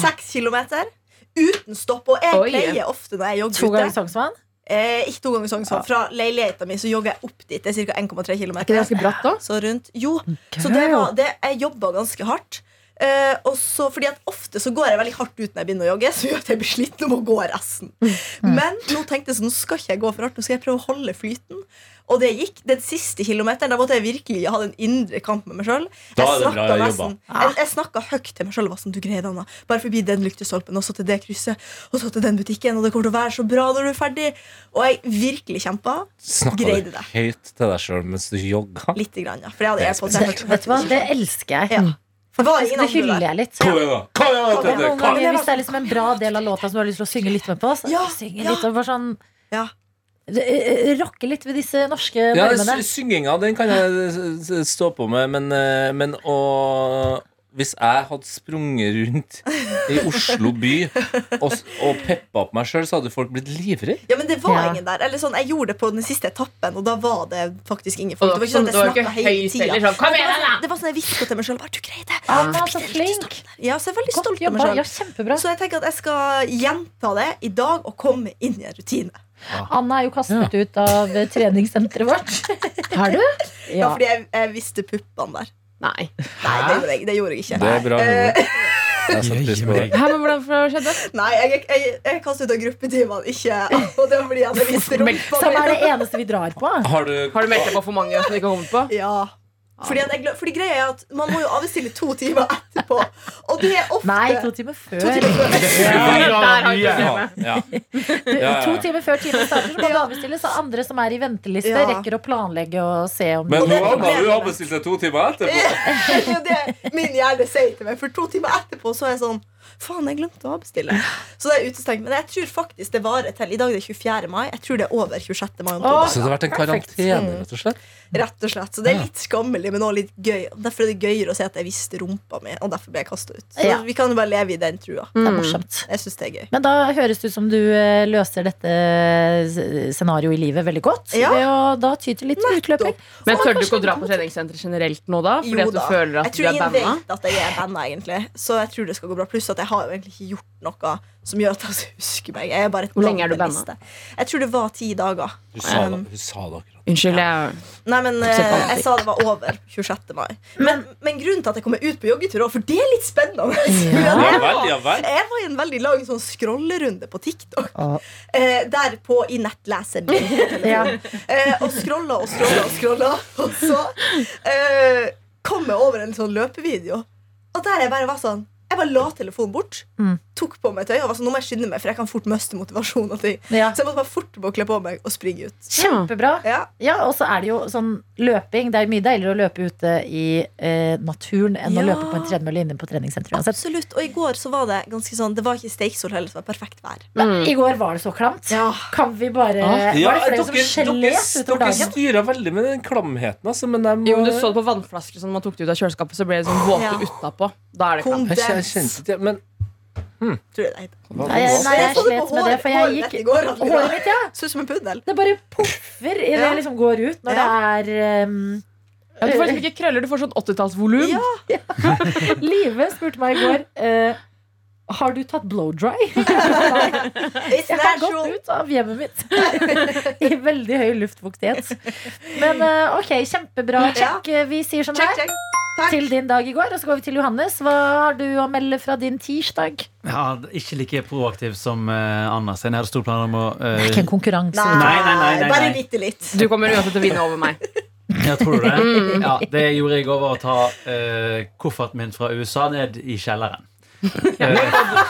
[SPEAKER 4] Seks kilometer uten stopp. Og jeg
[SPEAKER 3] Ah. Oi.
[SPEAKER 4] pleier ofte når jeg jogger
[SPEAKER 2] To ganger
[SPEAKER 4] ute
[SPEAKER 2] Sognsvann?
[SPEAKER 4] eh, Ikke to ganger i Sognsvann. Fra leiligheta mi så jogger jeg opp dit. Det er ca. 1,3
[SPEAKER 3] Ah. Er ikke det
[SPEAKER 4] km.
[SPEAKER 3] ganske bratt da?
[SPEAKER 4] Så rundt Jo, så det var det. Jeg jobba ganske hardt. Eh, Eh, og så, fordi at Ofte så går jeg veldig hardt ut når jeg begynner å jogge, så gjør at jeg blir sliten og må gå resten.
[SPEAKER 6] Mm.
[SPEAKER 4] Men nå tenkte jeg sånn, nå skal ikke jeg gå for hardt, nå skal jeg prøve å holde flyten. Og det gikk. Den siste kilometeren da måtte jeg virkelig ha den indre kamp med meg sjøl. Jeg
[SPEAKER 6] Da er det bra
[SPEAKER 4] snakket
[SPEAKER 6] jobba.
[SPEAKER 4] nesten- Jeg, jeg snakka høyt til meg sjøl og var sånn, du greier det, Anna. Bare forbi den lyktestolpen, og så til det krysset, og så til den butikken, og det kommer til å være så bra når du er ferdig. Og jeg virkelig kjempa.
[SPEAKER 6] Snakka
[SPEAKER 4] Greide
[SPEAKER 6] du
[SPEAKER 4] det.
[SPEAKER 6] høyt til deg sjøl mens du jogga?
[SPEAKER 4] Lite grann, ja. For jeg hadde
[SPEAKER 6] Det er
[SPEAKER 4] AirPods. jeg hørte-
[SPEAKER 2] Vet du hva, det elsker jeg. Altså,
[SPEAKER 4] Ja. Det var
[SPEAKER 2] Det
[SPEAKER 4] ingen andre der.
[SPEAKER 2] hyller jeg litt.
[SPEAKER 6] Kom igjen, da! Kom igjen, da,
[SPEAKER 2] Ja,
[SPEAKER 6] Tete!
[SPEAKER 2] noen
[SPEAKER 6] Kom
[SPEAKER 2] ganger, hvis det er liksom en bra del av låta som du har lyst til å synge litt med på, så
[SPEAKER 4] Ja,
[SPEAKER 2] syng
[SPEAKER 4] ja.
[SPEAKER 2] litt og bare sånn
[SPEAKER 4] Ja.
[SPEAKER 2] eh, Rocke litt ved disse norske
[SPEAKER 6] Ja,
[SPEAKER 2] varmene.
[SPEAKER 6] sy- synginga, den kan jeg s- s- stå på med, men, eh, men å Hvis jeg hadde sprunget rundt i Oslo by og, s- og peppa på meg sjøl, så hadde folk blitt livredde.
[SPEAKER 4] Ja, men det var
[SPEAKER 2] Ja.
[SPEAKER 4] ingen der. Eller sånn, Jeg gjorde det på den siste etappen, og da var det faktisk ingen
[SPEAKER 3] Og
[SPEAKER 4] folk. Det var ikke sånn
[SPEAKER 3] det
[SPEAKER 4] at
[SPEAKER 3] var
[SPEAKER 4] jeg
[SPEAKER 3] ikke
[SPEAKER 4] snakket hele
[SPEAKER 3] høyt heller.
[SPEAKER 4] tiden.
[SPEAKER 3] Sånn, kom
[SPEAKER 4] Det
[SPEAKER 3] igjen,
[SPEAKER 4] var,
[SPEAKER 3] da!
[SPEAKER 4] sånn- det var sånn jeg hviska til meg sjøl. Du greide det.
[SPEAKER 2] Anna,
[SPEAKER 4] Forbi
[SPEAKER 2] Ah, så
[SPEAKER 4] den
[SPEAKER 2] flink!
[SPEAKER 4] lyktestolpen der. Ja, så jeg er veldig
[SPEAKER 2] Godt
[SPEAKER 4] stolt av
[SPEAKER 2] jobba.
[SPEAKER 4] meg
[SPEAKER 2] Ja,
[SPEAKER 4] sjøl.
[SPEAKER 2] kjempebra.
[SPEAKER 4] Så jeg tenker at jeg skal gjenta det i dag og komme inn i en rutine.
[SPEAKER 2] Anna er jo kastet ut av eh, treningssenteret vårt. Har du?
[SPEAKER 4] Ja,
[SPEAKER 2] Ja.
[SPEAKER 4] fordi jeg, jeg visste puppene der.
[SPEAKER 3] Nei.
[SPEAKER 4] Nei, det gjorde jeg, det gjorde jeg
[SPEAKER 6] Det
[SPEAKER 4] ikke.
[SPEAKER 6] er bra. humor. Jeg setter pris på det.
[SPEAKER 3] Hæ, men hvordan hva skjedde?
[SPEAKER 4] Nei, jeg, jeg, jeg, jeg kastet ut av gruppetimene, ikke Og det var fordi jeg hadde vist
[SPEAKER 2] Som er
[SPEAKER 4] rumpa mi.
[SPEAKER 2] det eneste vi drar på.
[SPEAKER 6] Har du
[SPEAKER 3] Har du meldt deg på for mange som du ikke har kommet på?
[SPEAKER 4] Ja. Fordi, at jeg, glem- fordi greia er at man må jo avbestille to timer etterpå. Og det er ofte
[SPEAKER 2] Nei, to timer
[SPEAKER 4] to
[SPEAKER 2] før.
[SPEAKER 4] timer før.
[SPEAKER 3] Der har vi
[SPEAKER 5] Ja.
[SPEAKER 3] problemet.
[SPEAKER 6] Ja.
[SPEAKER 2] Du,
[SPEAKER 6] Ja, ja.
[SPEAKER 2] To timer før timen starter, så må du avbestille, så andre som er i venteliste,
[SPEAKER 4] Ja.
[SPEAKER 2] rekker å planlegge og se om
[SPEAKER 6] Men
[SPEAKER 2] de-
[SPEAKER 6] nå Anna, du har bestilt deg to timer etterpå.
[SPEAKER 4] Det er jo det min hjerne sier til meg. For to timer etterpå så er jeg sånn Faen, jeg glemte å avbestille. Så det er utestengt. Men jeg tror faktisk det varer til i dag er det 24. mai. Jeg tror det er over 26. mai. om to
[SPEAKER 2] Åh.
[SPEAKER 4] dager,
[SPEAKER 6] Så det har vært en
[SPEAKER 2] Perfekt.
[SPEAKER 6] karantene, rett og slett.
[SPEAKER 4] Rett og slett. Så det er litt skammelig, men også litt gøy. Og Derfor er det gøyere å si at jeg visste rumpa mi, og derfor ble jeg kasta ut. Så
[SPEAKER 2] Ja.
[SPEAKER 4] vi kan jo bare leve i den trua.
[SPEAKER 2] Det er morsomt.
[SPEAKER 4] Jeg syns det er gøy.
[SPEAKER 2] Men da høres det ut som du eh, løser dette eh, s- scenarioet i livet veldig godt.
[SPEAKER 4] Ja.
[SPEAKER 2] Ved å da ty til litt utløping.
[SPEAKER 3] Men tør du ikke å dra på treningssenter generelt nå, da? Fordi
[SPEAKER 4] Jo
[SPEAKER 3] at du
[SPEAKER 4] da.
[SPEAKER 3] føler
[SPEAKER 4] Jeg
[SPEAKER 3] at du
[SPEAKER 4] tror
[SPEAKER 3] er
[SPEAKER 4] ingen
[SPEAKER 3] banna?
[SPEAKER 4] vet at jeg er banna, egentlig. Så jeg tror det skal gå bra. Pluss at jeg har jo egentlig ikke gjort noe som gjør at jeg husker meg. Jeg er bare et
[SPEAKER 3] Hvor lenge er du
[SPEAKER 4] blankt liste. Jeg tror det var ti dager.
[SPEAKER 6] Hun sa det, hun sa det akkurat.
[SPEAKER 3] Unnskyld, jeg
[SPEAKER 4] Nei, men eh, jeg sa det var over 26. mai. Men, men grunnen til at jeg kommer ut på joggetur også, for det er litt spennende
[SPEAKER 6] Ja vel, ja vel.
[SPEAKER 4] Jeg var i en veldig lang sånn scrollerunde på TikTok.
[SPEAKER 2] Ah.
[SPEAKER 4] Eh, der på i nettleseren min. på telefonen.
[SPEAKER 2] Ja.
[SPEAKER 4] eh, og scrolla og scrolla og scrolla. Og så eh, kom jeg over en sånn løpevideo, og der jeg bare var sånn jeg bare la telefonen bort,
[SPEAKER 2] Mm.
[SPEAKER 4] tok på meg tøy og var sånn, nå må jeg skynde meg, for jeg kan fort miste motivasjon. og ting
[SPEAKER 2] Ja.
[SPEAKER 4] Så jeg måtte bare forte meg å kle på meg og springe ut.
[SPEAKER 2] Kjempebra.
[SPEAKER 4] Ja,
[SPEAKER 2] Ja, og så er det jo sånn løping. Det er mye deiligere å løpe ute i eh, naturen enn å
[SPEAKER 4] Ja.
[SPEAKER 2] løpe på en tredemølle inne på treningssenteret uansett.
[SPEAKER 4] Absolutt. Og i går så var det ganske sånn Det var ikke steiksol heller, så det var perfekt vær.
[SPEAKER 2] Men I går var det så klamt.
[SPEAKER 4] Mm. Ja.
[SPEAKER 2] Kan vi bare Var det flere som gelés utover
[SPEAKER 6] dere
[SPEAKER 2] dagen?
[SPEAKER 6] styrer veldig med den klamheten, altså, men jeg må-
[SPEAKER 3] Jo, men du så det på vannflasker sånn, man tok det ut av kjøleskapet, så ble det sånn våte
[SPEAKER 4] Ja.
[SPEAKER 3] utapå. Da er det klart.
[SPEAKER 6] Jeg kjen- jeg
[SPEAKER 4] Kondens,
[SPEAKER 6] kjente ikke Men
[SPEAKER 4] tror jeg det heter.
[SPEAKER 6] hva-
[SPEAKER 2] Nei, jeg, nei, jeg
[SPEAKER 4] Jeg så det på
[SPEAKER 2] slet med det,
[SPEAKER 4] håret-
[SPEAKER 2] for
[SPEAKER 4] håret
[SPEAKER 2] jeg
[SPEAKER 4] mitt i
[SPEAKER 2] gikk
[SPEAKER 4] går, at vi var-
[SPEAKER 2] Håret mitt, ja.
[SPEAKER 4] Ser ut som en puddel.
[SPEAKER 2] Det bare poffer idet
[SPEAKER 4] Ja.
[SPEAKER 2] jeg liksom går ut, når det er um,
[SPEAKER 3] Ja, du får
[SPEAKER 2] Eh.
[SPEAKER 3] liksom ikke krøller, du får sånn 80-tallsvolum.
[SPEAKER 4] Ja.
[SPEAKER 2] Live spurte meg i går eh, Har du tatt blow dry?
[SPEAKER 4] It's
[SPEAKER 2] Jeg har gått
[SPEAKER 4] natural.
[SPEAKER 2] ut av hjemmet mitt I veldig høy luftfuktighet Men eh, ok, kjempebra Check, Eh, vi sier sånn
[SPEAKER 4] Check,
[SPEAKER 2] her
[SPEAKER 4] check. Takk.
[SPEAKER 2] Til din dag i går, og så går vi til Johannes Hva har du å melde fra din tirsdag?
[SPEAKER 5] Ja, ikke like proaktiv som eh, Anna sin. Jeg hadde store planer om å
[SPEAKER 2] Det
[SPEAKER 5] eh,
[SPEAKER 2] er ikke en konkurranse
[SPEAKER 5] Nei, nei, nei, nei,
[SPEAKER 4] Bare
[SPEAKER 5] nei.
[SPEAKER 4] bitte litt.
[SPEAKER 3] Du kommer uansett til å vinne over meg.
[SPEAKER 5] Ja, tror du det? Ja, det gjorde jeg over å ta eh, kofferten min fra USA ned i kjelleren. Eh,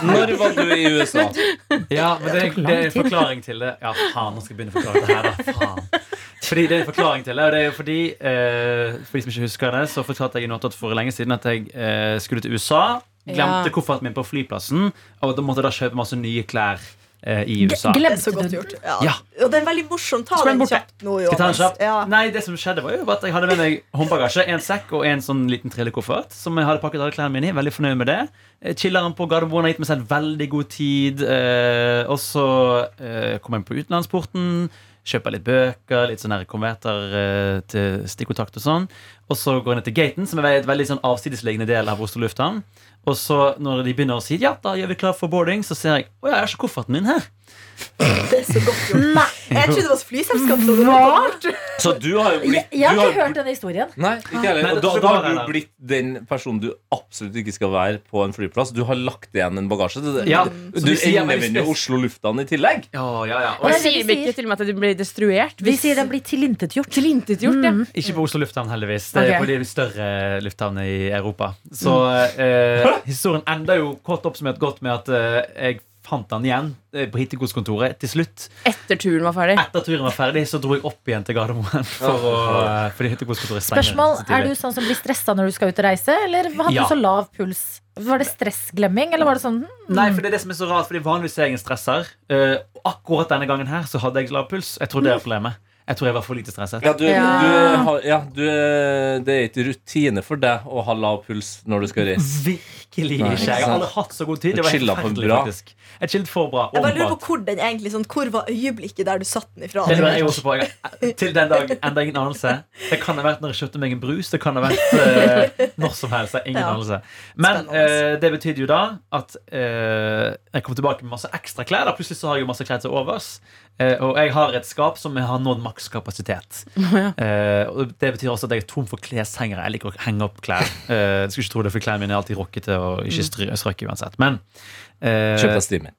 [SPEAKER 6] Når var du i USA?
[SPEAKER 5] ja, men det,
[SPEAKER 2] Det tok lang
[SPEAKER 5] det er en
[SPEAKER 2] tid.
[SPEAKER 5] forklaring til det. Ja, faen, nå skal jeg begynne å forklare det her, da. Faen. Fordi det er en forklaring til det, og det er jo fordi eh, For de som ikke husker det, så fortalte jeg i Nåttat for lenge siden at jeg eh, skulle til USA.
[SPEAKER 3] Ja.
[SPEAKER 5] Glemte kofferten min på flyplassen, og da måtte jeg da kjøpe masse nye klær eh, i USA.
[SPEAKER 4] Det er
[SPEAKER 2] Glemte
[SPEAKER 4] så godt
[SPEAKER 2] du
[SPEAKER 4] gjort. Ja.
[SPEAKER 5] Ja.
[SPEAKER 4] Og det er en veldig morsom
[SPEAKER 5] Så
[SPEAKER 4] tale.
[SPEAKER 5] ble den borte.
[SPEAKER 4] nå,
[SPEAKER 5] Skal jeg ta en
[SPEAKER 4] Johannes.
[SPEAKER 5] kjapp?
[SPEAKER 4] Ja.
[SPEAKER 5] Nei, det som skjedde var jo at Jeg hadde med meg håndbagasje, en sekk og en sånn liten trillekoffert. Som jeg hadde pakket alle klærne mine i. Veldig fornøyd med det. Eh, Chilleren på Gardermoen har gitt meg selv veldig god tid. Eh, og så eh, kom jeg på utenlandsporten. Kjøper litt bøker, litt sånne her konverter eh, til stikkontakt og sånn. Og så går jeg ned til gaten, som er et veldig sånn avsidesliggende del av Oslo lufthavn. Og så når de begynner å si ja, da gjør vi klar for boarding, så ser jeg å ja, jeg har ikke kofferten min her.
[SPEAKER 4] Det er så godt gjort. Jeg trodde det var flyselskapet. som hadde
[SPEAKER 2] Hva?
[SPEAKER 4] gått bort.
[SPEAKER 6] Så du har jo
[SPEAKER 2] Jeg,
[SPEAKER 6] blitt
[SPEAKER 2] jeg har
[SPEAKER 6] du
[SPEAKER 2] ikke
[SPEAKER 6] har-
[SPEAKER 2] hørt denne historien.
[SPEAKER 6] Nei, ikke
[SPEAKER 5] Nei,
[SPEAKER 6] heller. Og
[SPEAKER 5] da-
[SPEAKER 6] da,
[SPEAKER 5] da
[SPEAKER 6] da har
[SPEAKER 5] er
[SPEAKER 6] du
[SPEAKER 5] det-
[SPEAKER 6] blitt den personen du absolutt ikke skal være på en flyplass. Du har lagt igjen en bagasje. Du,
[SPEAKER 5] Ja, så
[SPEAKER 6] du
[SPEAKER 5] vi sier veldig
[SPEAKER 6] endevender
[SPEAKER 5] spes-
[SPEAKER 6] Oslo lufthavn i tillegg.
[SPEAKER 5] Ja, ja, ja.
[SPEAKER 2] det
[SPEAKER 3] Og
[SPEAKER 5] Og
[SPEAKER 2] er det
[SPEAKER 3] sier
[SPEAKER 2] vi
[SPEAKER 3] vi
[SPEAKER 2] sier.
[SPEAKER 3] ikke til og med at de blir destruert?
[SPEAKER 2] Vi sier den blir Mm. tilintetgjort.
[SPEAKER 3] tilintetgjort, ja.
[SPEAKER 5] ikke på Oslo lufthavn, heldigvis. Det er
[SPEAKER 2] Ok.
[SPEAKER 5] på de større lufthavnene i Europa. Så
[SPEAKER 4] Mm.
[SPEAKER 5] eh, historien ender jo kort oppsummert godt med at eh, jeg fant han igjen eh, på hittegodskontoret til slutt.
[SPEAKER 3] Etter turen var ferdig.
[SPEAKER 5] Etter at turen var ferdig, så dro jeg opp igjen til Gardermoen. For å, eh, fordi hittegodskontoret stenger
[SPEAKER 2] Spørsmål,
[SPEAKER 5] så
[SPEAKER 2] Er
[SPEAKER 5] tidlig.
[SPEAKER 2] du sånn som blir stressa når du skal ut og reise, eller hadde
[SPEAKER 5] Ja.
[SPEAKER 2] du så lav puls? Var det stressglemming, eller var det sånn hm,
[SPEAKER 5] Nei, for det er det som er så rart, fordi vanligvis er jeg en stresser. Eh, og akkurat denne gangen her så hadde jeg lav puls. Jeg tror det er
[SPEAKER 4] Mm.
[SPEAKER 5] problemet. Jeg tror jeg var for lite stresset.
[SPEAKER 6] Ja, du,
[SPEAKER 2] Ja.
[SPEAKER 6] Du, har- ja, du, det er ikke rutine for deg å ha lav puls når du skal reise.
[SPEAKER 5] Virkelig
[SPEAKER 6] Nei,
[SPEAKER 5] ikke.
[SPEAKER 6] ikke
[SPEAKER 5] Jeg har
[SPEAKER 6] sant.
[SPEAKER 5] aldri hatt så god tid. Det
[SPEAKER 6] Du
[SPEAKER 5] var helt
[SPEAKER 6] chillet for
[SPEAKER 5] forferdelig,
[SPEAKER 6] bra.
[SPEAKER 5] faktisk. Jeg chillet for bra.
[SPEAKER 4] Jeg bare lurer
[SPEAKER 5] overalt.
[SPEAKER 4] på Hvor den egentlig sånn Hvor var øyeblikket der du satte den ifra?
[SPEAKER 5] Det lurer jeg også på. Jeg, til den dag enda ingen anelse. Det kan ha vært når jeg kjøpte meg en brus. Det kan ha vært eh, når som helst. jeg har Ingen
[SPEAKER 4] Ja.
[SPEAKER 5] anelse. Men
[SPEAKER 4] Spennende.
[SPEAKER 5] eh, det betydde jo da at eh, jeg kom tilbake med masse ekstra klær. Da. Plutselig så har jeg jo masse klær til overs. Eh, og jeg har et skap som har nådd makskapasitet. Eh, og det betyr også at jeg er tom for kleshengere. Jeg liker å henge opp klær. Eh, skulle ikke tro det, for klærne mine er alltid rockete og ikke
[SPEAKER 4] Mm.
[SPEAKER 5] stry- strøkket uansett. Men eh,
[SPEAKER 6] Kjøp deg Steamer.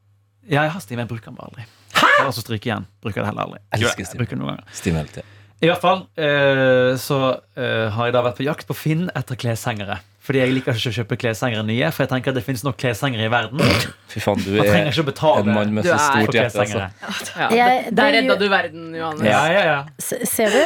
[SPEAKER 5] ja, jeg har Steam, jeg bruker den bare aldri. Jeg har også stryk igjen. Bruker det heller aldri. Jo,
[SPEAKER 6] Elsker Steam.
[SPEAKER 5] jeg bruker den noen ganger.
[SPEAKER 6] Steam hele tiden.
[SPEAKER 5] I hvert fall eh, så eh, har jeg da vært på jakt på Finn etter kleshengere. Fordi jeg liker ikke å kjøpe kleshengere nye, for jeg tenker at det finnes nok kleshengere i verden. Man
[SPEAKER 6] Fy faen, du
[SPEAKER 5] trenger
[SPEAKER 6] er
[SPEAKER 5] ikke å betale
[SPEAKER 6] en mann med
[SPEAKER 3] Du
[SPEAKER 6] så
[SPEAKER 3] er
[SPEAKER 6] stort
[SPEAKER 5] for
[SPEAKER 6] hjerte. Altså.
[SPEAKER 5] kleshengere.
[SPEAKER 3] Ja,
[SPEAKER 2] Jeg-
[SPEAKER 3] det- der
[SPEAKER 2] det-
[SPEAKER 3] redda du verden, Johannes.
[SPEAKER 5] Ja, ja, ja.
[SPEAKER 2] s- Ser du?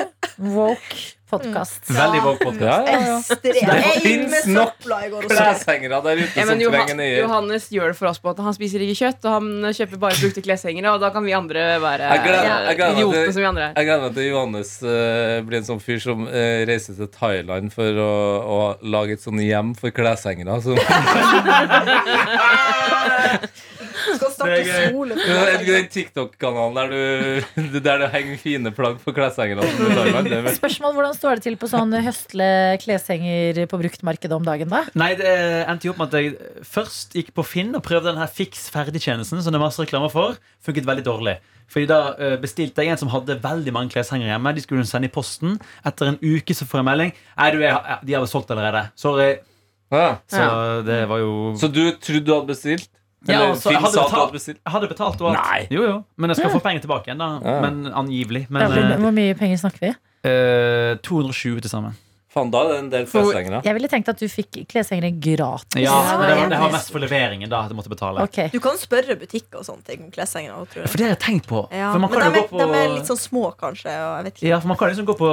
[SPEAKER 2] Woke podkast.
[SPEAKER 5] Veldig våg podcast.
[SPEAKER 6] Ja, ja, ja.
[SPEAKER 4] Jeg inn med
[SPEAKER 6] finnes nok
[SPEAKER 4] søpla i går også.
[SPEAKER 6] Kleshengere der ute
[SPEAKER 3] Ja,
[SPEAKER 6] som
[SPEAKER 3] men Johan,
[SPEAKER 6] trenger nye.
[SPEAKER 3] Johannes gjør det for oss på at han spiser ikke kjøtt, og han kjøper bare brukte kleshengere, og da kan vi andre være
[SPEAKER 6] Jeg gleder- jeg gleder meg til-
[SPEAKER 3] idioter som vi andre er.
[SPEAKER 6] Jeg gleder meg til Johannes eh, blir en sånn fyr som eh, reiser til Thailand for å, å lage et sånn hjem for altså. kleshengere. Som
[SPEAKER 4] Skal starte
[SPEAKER 5] Det er gøy.
[SPEAKER 4] skole
[SPEAKER 6] Ja,
[SPEAKER 4] for
[SPEAKER 6] jeg vet ikke, Den TikTok-kanalen der du, der du henger fine plagg på kleshengerne. som du tar med, sånn det er vel-
[SPEAKER 2] Spørsmål, Hvordan står det til på sånn høstle kleshenger på bruktmarkedet om dagen, da?
[SPEAKER 5] Nei, det endte jo opp med at jeg først gikk på Finn og prøvde den her Fiks ferdig-tjenesten, som det er masse reklame for. Funket veldig dårlig. Fordi da eh, bestilte jeg en som hadde veldig mange kleshengere hjemme. De skulle hun sende i posten. Etter en uke så får jeg melding. Nei, du, jeg, har- de har solgt allerede. Sorry.
[SPEAKER 6] Ja.
[SPEAKER 5] Så det var jo
[SPEAKER 6] Så du trodde du hadde bestilt?
[SPEAKER 5] Ja,
[SPEAKER 6] Eller
[SPEAKER 5] altså, jeg
[SPEAKER 6] Finn
[SPEAKER 5] hadde
[SPEAKER 6] sa at du
[SPEAKER 5] betalt-
[SPEAKER 6] hadde bestilt?
[SPEAKER 5] Jeg hadde betalt og alt.
[SPEAKER 6] Nei.
[SPEAKER 5] Jo, jo. Men jeg skal få penger tilbake igjen, da.
[SPEAKER 6] Ja.
[SPEAKER 5] Men angivelig. Men
[SPEAKER 2] Hvor hvor mye penger snakker vi?
[SPEAKER 5] eh, eh, 220 til sammen.
[SPEAKER 6] Faen, da er det en del kleshengere.
[SPEAKER 2] Jeg ville tenkt at du fikk kleshengere gratis.
[SPEAKER 5] Ja,
[SPEAKER 4] Ja,
[SPEAKER 5] men det var,
[SPEAKER 4] det
[SPEAKER 5] det
[SPEAKER 4] er
[SPEAKER 5] var
[SPEAKER 4] trist.
[SPEAKER 5] mest for leveringen, da. At jeg måtte betale.
[SPEAKER 2] Ok,
[SPEAKER 4] Du kan spørre butikker og sånne ting om kleshengere. også, tror jeg.
[SPEAKER 5] For det har jeg tenkt på.
[SPEAKER 4] Ja.
[SPEAKER 5] For
[SPEAKER 4] Men
[SPEAKER 5] man kan
[SPEAKER 4] de
[SPEAKER 5] jo
[SPEAKER 4] er,
[SPEAKER 5] gå på
[SPEAKER 4] de er litt sånn små, kanskje. Og jeg vet ikke.
[SPEAKER 5] ja, for Man kan liksom gå på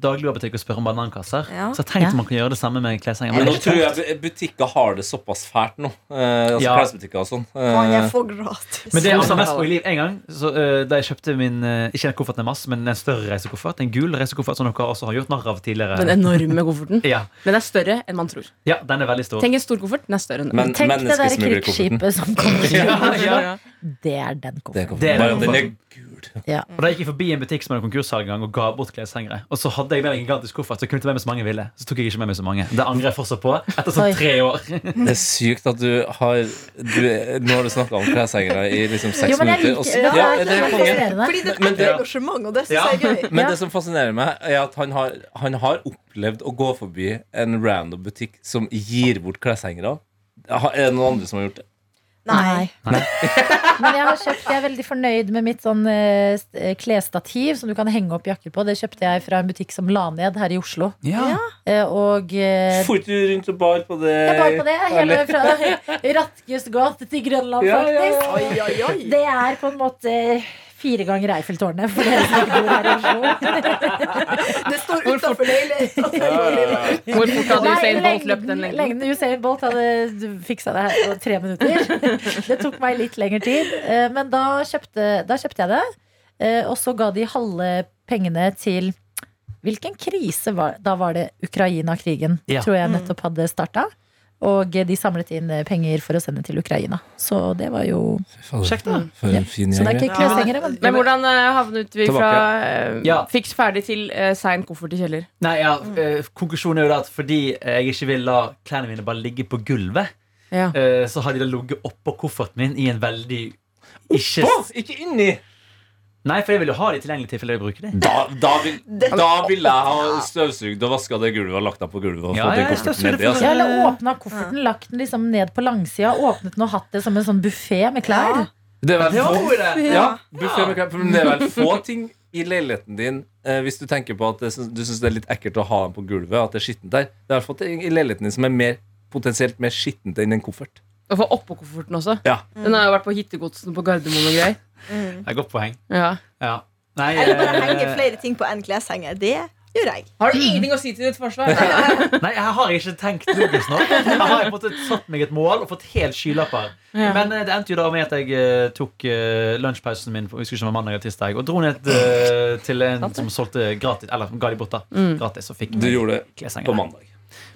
[SPEAKER 5] dagligvarebutikk og spørre om banankasser.
[SPEAKER 4] Ja.
[SPEAKER 5] Så jeg tenkte
[SPEAKER 2] Ja.
[SPEAKER 5] man kan gjøre det samme med kleshenger.
[SPEAKER 6] Men
[SPEAKER 5] Men
[SPEAKER 6] nå
[SPEAKER 5] det er
[SPEAKER 6] tror
[SPEAKER 5] ikke
[SPEAKER 6] jeg bu- butikker har det såpass fælt nå. Eh, altså
[SPEAKER 5] Ja.
[SPEAKER 6] Klesbutikker og sånn.
[SPEAKER 4] Man
[SPEAKER 6] Eh,
[SPEAKER 4] er for gratis.
[SPEAKER 5] Men det er altså mest på i liv En gang så, eh, da jeg kjøpte min eh, Ikke en koffert med masse, men en større reisekoffert. En gul reisekoffert som dere også har gjort narr av
[SPEAKER 3] Den
[SPEAKER 5] tidligere.
[SPEAKER 3] enorme kofferten.
[SPEAKER 5] Ja,
[SPEAKER 3] Den er større enn man tror.
[SPEAKER 5] ja, den er veldig stor.
[SPEAKER 3] Tenk en stor koffert. Den er større enn den.
[SPEAKER 6] men
[SPEAKER 2] Tenk det der
[SPEAKER 6] menneskesmuglerkofferten
[SPEAKER 2] krigsskipet som kommer.
[SPEAKER 5] Ja, ja.
[SPEAKER 2] Det er den
[SPEAKER 6] eh, Det er
[SPEAKER 2] kofferten.
[SPEAKER 5] Det er
[SPEAKER 6] kofferten. Bare at Den er
[SPEAKER 5] kofferten.
[SPEAKER 6] gul.
[SPEAKER 5] Og Da gikk jeg forbi en butikk som hadde konkurssalg en gang og ga bort kleshengere. Og så hadde jeg med meg en gigantisk koffert, så jeg kunne ikke ta med meg så mange jeg ville. Så tok jeg ikke med meg så mange. Det angrer jeg fortsatt på. Etter
[SPEAKER 2] Oi.
[SPEAKER 5] sånn tre år.
[SPEAKER 6] Det er sykt at du har du, Nå har du snakka om kleshengere i liksom seks
[SPEAKER 2] Jo, men jeg
[SPEAKER 6] minutter. og
[SPEAKER 2] liker
[SPEAKER 6] så-
[SPEAKER 2] ja,
[SPEAKER 6] ja,
[SPEAKER 2] det.
[SPEAKER 6] det
[SPEAKER 2] Er
[SPEAKER 6] er konge.
[SPEAKER 2] fascinerende.
[SPEAKER 4] Fordi det er
[SPEAKER 6] Men
[SPEAKER 4] et
[SPEAKER 6] det-
[SPEAKER 4] engasjement, og det
[SPEAKER 5] Ja.
[SPEAKER 4] syns jeg er gøy.
[SPEAKER 6] Men
[SPEAKER 2] Ja.
[SPEAKER 6] det som fascinerer meg, er at han har, han har opplevd å gå forbi en random butikk som gir bort kleshengere. Ha- Er det noen andre som har gjort det?
[SPEAKER 2] Nei. Men jeg har kjøpt, jeg er veldig fornøyd med mitt sånn eh, st- eh, klesstativ som du kan henge opp jakker på. Det kjøpte jeg fra en butikk som la ned her i Oslo.
[SPEAKER 5] Ja.
[SPEAKER 2] Eh, Og eh,
[SPEAKER 6] Får ikke du rundt og bar på det?
[SPEAKER 2] jeg bar på det hele
[SPEAKER 6] Eller-
[SPEAKER 2] fra Ratkjusgate til Grønland,
[SPEAKER 6] Ja, ja, ja.
[SPEAKER 2] faktisk.
[SPEAKER 4] Oi, oi, oi.
[SPEAKER 2] Det er på en måte fire ganger Eiffeltårnet for dere som ikke bor her i Oslo.
[SPEAKER 4] Det står utafor leiligheten.
[SPEAKER 3] Hvor fort hadde
[SPEAKER 2] Nei,
[SPEAKER 3] Usain Bolt
[SPEAKER 2] lengden-
[SPEAKER 3] løpt den lengden?
[SPEAKER 2] lengden Usain Bolt hadde fiksa det her på tre minutter. Det tok meg litt lengre tid, eh, men da kjøpte, da kjøpte jeg det. eh, Og så ga de halve pengene til Hvilken krise var det? Da var det Ukraina-krigen,
[SPEAKER 5] Ja.
[SPEAKER 2] tror
[SPEAKER 3] Mm.
[SPEAKER 2] jeg nettopp hadde starta. Og de samlet inn eh, penger for å sende til Ukraina. Så det var jo
[SPEAKER 5] Sjekk det.
[SPEAKER 6] For en fin
[SPEAKER 2] Så det er
[SPEAKER 6] gjeng.
[SPEAKER 2] ikke kleshengere, men
[SPEAKER 3] Men hvordan eh, havnet vi
[SPEAKER 6] Tilbake.
[SPEAKER 3] fra eh,
[SPEAKER 5] Ja.
[SPEAKER 3] fiks ferdig til eh, sein koffert i kjeller?
[SPEAKER 5] Nei, ja, eh, konklusjonen er jo da at fordi eh, jeg ikke vil la klærne mine bare ligge på gulvet,
[SPEAKER 3] Ja.
[SPEAKER 5] eh, så har de da ligget oppå kofferten min i en veldig ikke
[SPEAKER 6] Å, ikke inni!
[SPEAKER 5] Nei, for jeg vil jo ha de tilgjengelige tilfeller jeg bruker de.
[SPEAKER 6] Da, da, vil, da ville jeg ha støvsugd og vaska det gulvet og lagt deg på gulvet. Og
[SPEAKER 5] Ja,
[SPEAKER 6] fått den
[SPEAKER 5] ja, jeg
[SPEAKER 6] kofferten
[SPEAKER 5] støvsuger
[SPEAKER 6] nedi, altså.
[SPEAKER 2] Ja, eller åpna kofferten, lagt den liksom ned på langsida, åpnet den og hatt det som en sånn buffé med klær.
[SPEAKER 6] Det er vel
[SPEAKER 5] Det var
[SPEAKER 6] få,
[SPEAKER 5] en god idé.
[SPEAKER 6] ja, buffet med krem, for det er vel få ting i leiligheten din eh, Hvis du tenker på at det, syns- du syns det er litt ekkelt å ha den på gulvet, at det er skittent der. Det er i hvert fall ting i leiligheten din som er mer, potensielt mer skittent enn en koffert.
[SPEAKER 3] Og få oppå kofferten også.
[SPEAKER 6] Ja.
[SPEAKER 3] Den har jo vært på hittegodsen på Gardermoen og greier.
[SPEAKER 5] Det er godt poeng.
[SPEAKER 3] Ja.
[SPEAKER 5] Ja. Nei,
[SPEAKER 4] Eller Mm. bare
[SPEAKER 5] eh,
[SPEAKER 4] henge flere ting på én kleshenger. Det gjør jeg.
[SPEAKER 3] Har du ingenting å si til ditt forsvar? Nei.
[SPEAKER 5] Nei, jeg har ikke tenkt logisk nå. Jeg har på en måte satt meg et mål og fått helt skylapper. Men eh, det endte jo da med at jeg eh, tok eh, lunsjpausen min for- jeg husker ikke om det var mandag eller tirsdag, og dro ned eh, til en som solgte gratis, eller ga de bort da,
[SPEAKER 4] Mm.
[SPEAKER 5] gratis, og fikk
[SPEAKER 6] Du gjorde det
[SPEAKER 5] kleshenger.
[SPEAKER 6] på mandag.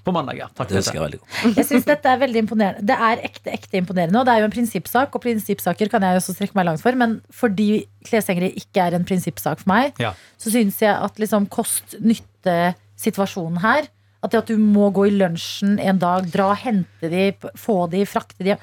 [SPEAKER 5] På mandag, ja. Takk for
[SPEAKER 6] Det husker
[SPEAKER 5] det.
[SPEAKER 6] jeg veldig godt.
[SPEAKER 2] Jeg synes dette er veldig imponerende Det er ekte, ekte imponerende, og det er jo en prinsippsak. Og prinsippsaker kan jeg jo også strekke meg langt for, men fordi kleshengere ikke er en prinsippsak for meg,
[SPEAKER 5] Ja.
[SPEAKER 2] så syns jeg at liksom kost-nytte-situasjonen her At det at du må gå i lunsjen en dag, dra og hente de, p- få de, frakte de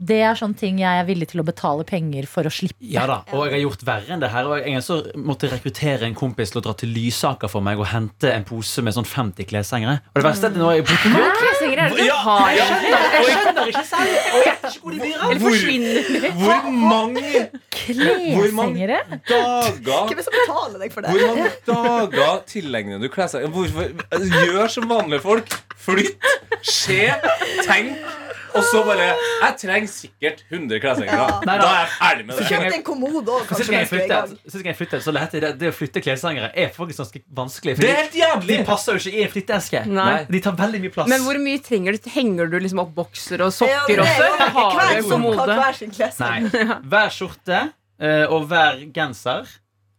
[SPEAKER 2] Det er sånne ting jeg er villig til å betale penger for å slippe.
[SPEAKER 5] Ja da, og jeg har gjort verre enn det her. Og jeg- en gang så måtte jeg rekruttere en kompis til å dra til Lysaker for meg og hente en pose med sånn 50 kleshengere. Og det verste er at når jeg bruker
[SPEAKER 2] Hvor kleshengere er det du har?
[SPEAKER 5] Jeg skjønner ikke selv! Og jeg er ikke så god i dyra.
[SPEAKER 3] Eller forsvinner
[SPEAKER 6] Hvor mange Hvor mange-
[SPEAKER 2] Kleshengere?
[SPEAKER 6] dager
[SPEAKER 4] Hvem er det som betaler deg for det?
[SPEAKER 6] Hvor mange dager tilegner du kleshenger? Hvorfor Gjør som vanlige folk. Flytt, se, tenk. Og så bare Jeg trenger sikkert 100 kleshengere. Da
[SPEAKER 5] Nei,
[SPEAKER 6] er
[SPEAKER 5] da.
[SPEAKER 6] jeg ferdig med det.
[SPEAKER 5] Ikke-
[SPEAKER 4] Kjøpt en kommode også, kanskje.
[SPEAKER 5] Sist gang
[SPEAKER 4] mens
[SPEAKER 5] jeg
[SPEAKER 4] du er i
[SPEAKER 5] flyttet,
[SPEAKER 4] gang.
[SPEAKER 5] sist gang jeg flyttet så lærte jeg det, det å flytte kleshengere er faktisk ganske vanskelig.
[SPEAKER 6] Det er
[SPEAKER 5] Fordi
[SPEAKER 6] helt jævlig!
[SPEAKER 5] de passer jo ikke i en flytteeske.
[SPEAKER 3] Nei.
[SPEAKER 5] De tar veldig mye plass.
[SPEAKER 3] Men hvor mye trenger du? Henger du liksom opp bokser og
[SPEAKER 4] Ja, det
[SPEAKER 3] sokker
[SPEAKER 4] er
[SPEAKER 3] også?
[SPEAKER 4] jo
[SPEAKER 3] Eller har du
[SPEAKER 4] Hver
[SPEAKER 3] en
[SPEAKER 4] som har
[SPEAKER 3] kommode?
[SPEAKER 4] hver sin kleshenger.
[SPEAKER 5] Nei. Hver skjorte eh, og hver genser,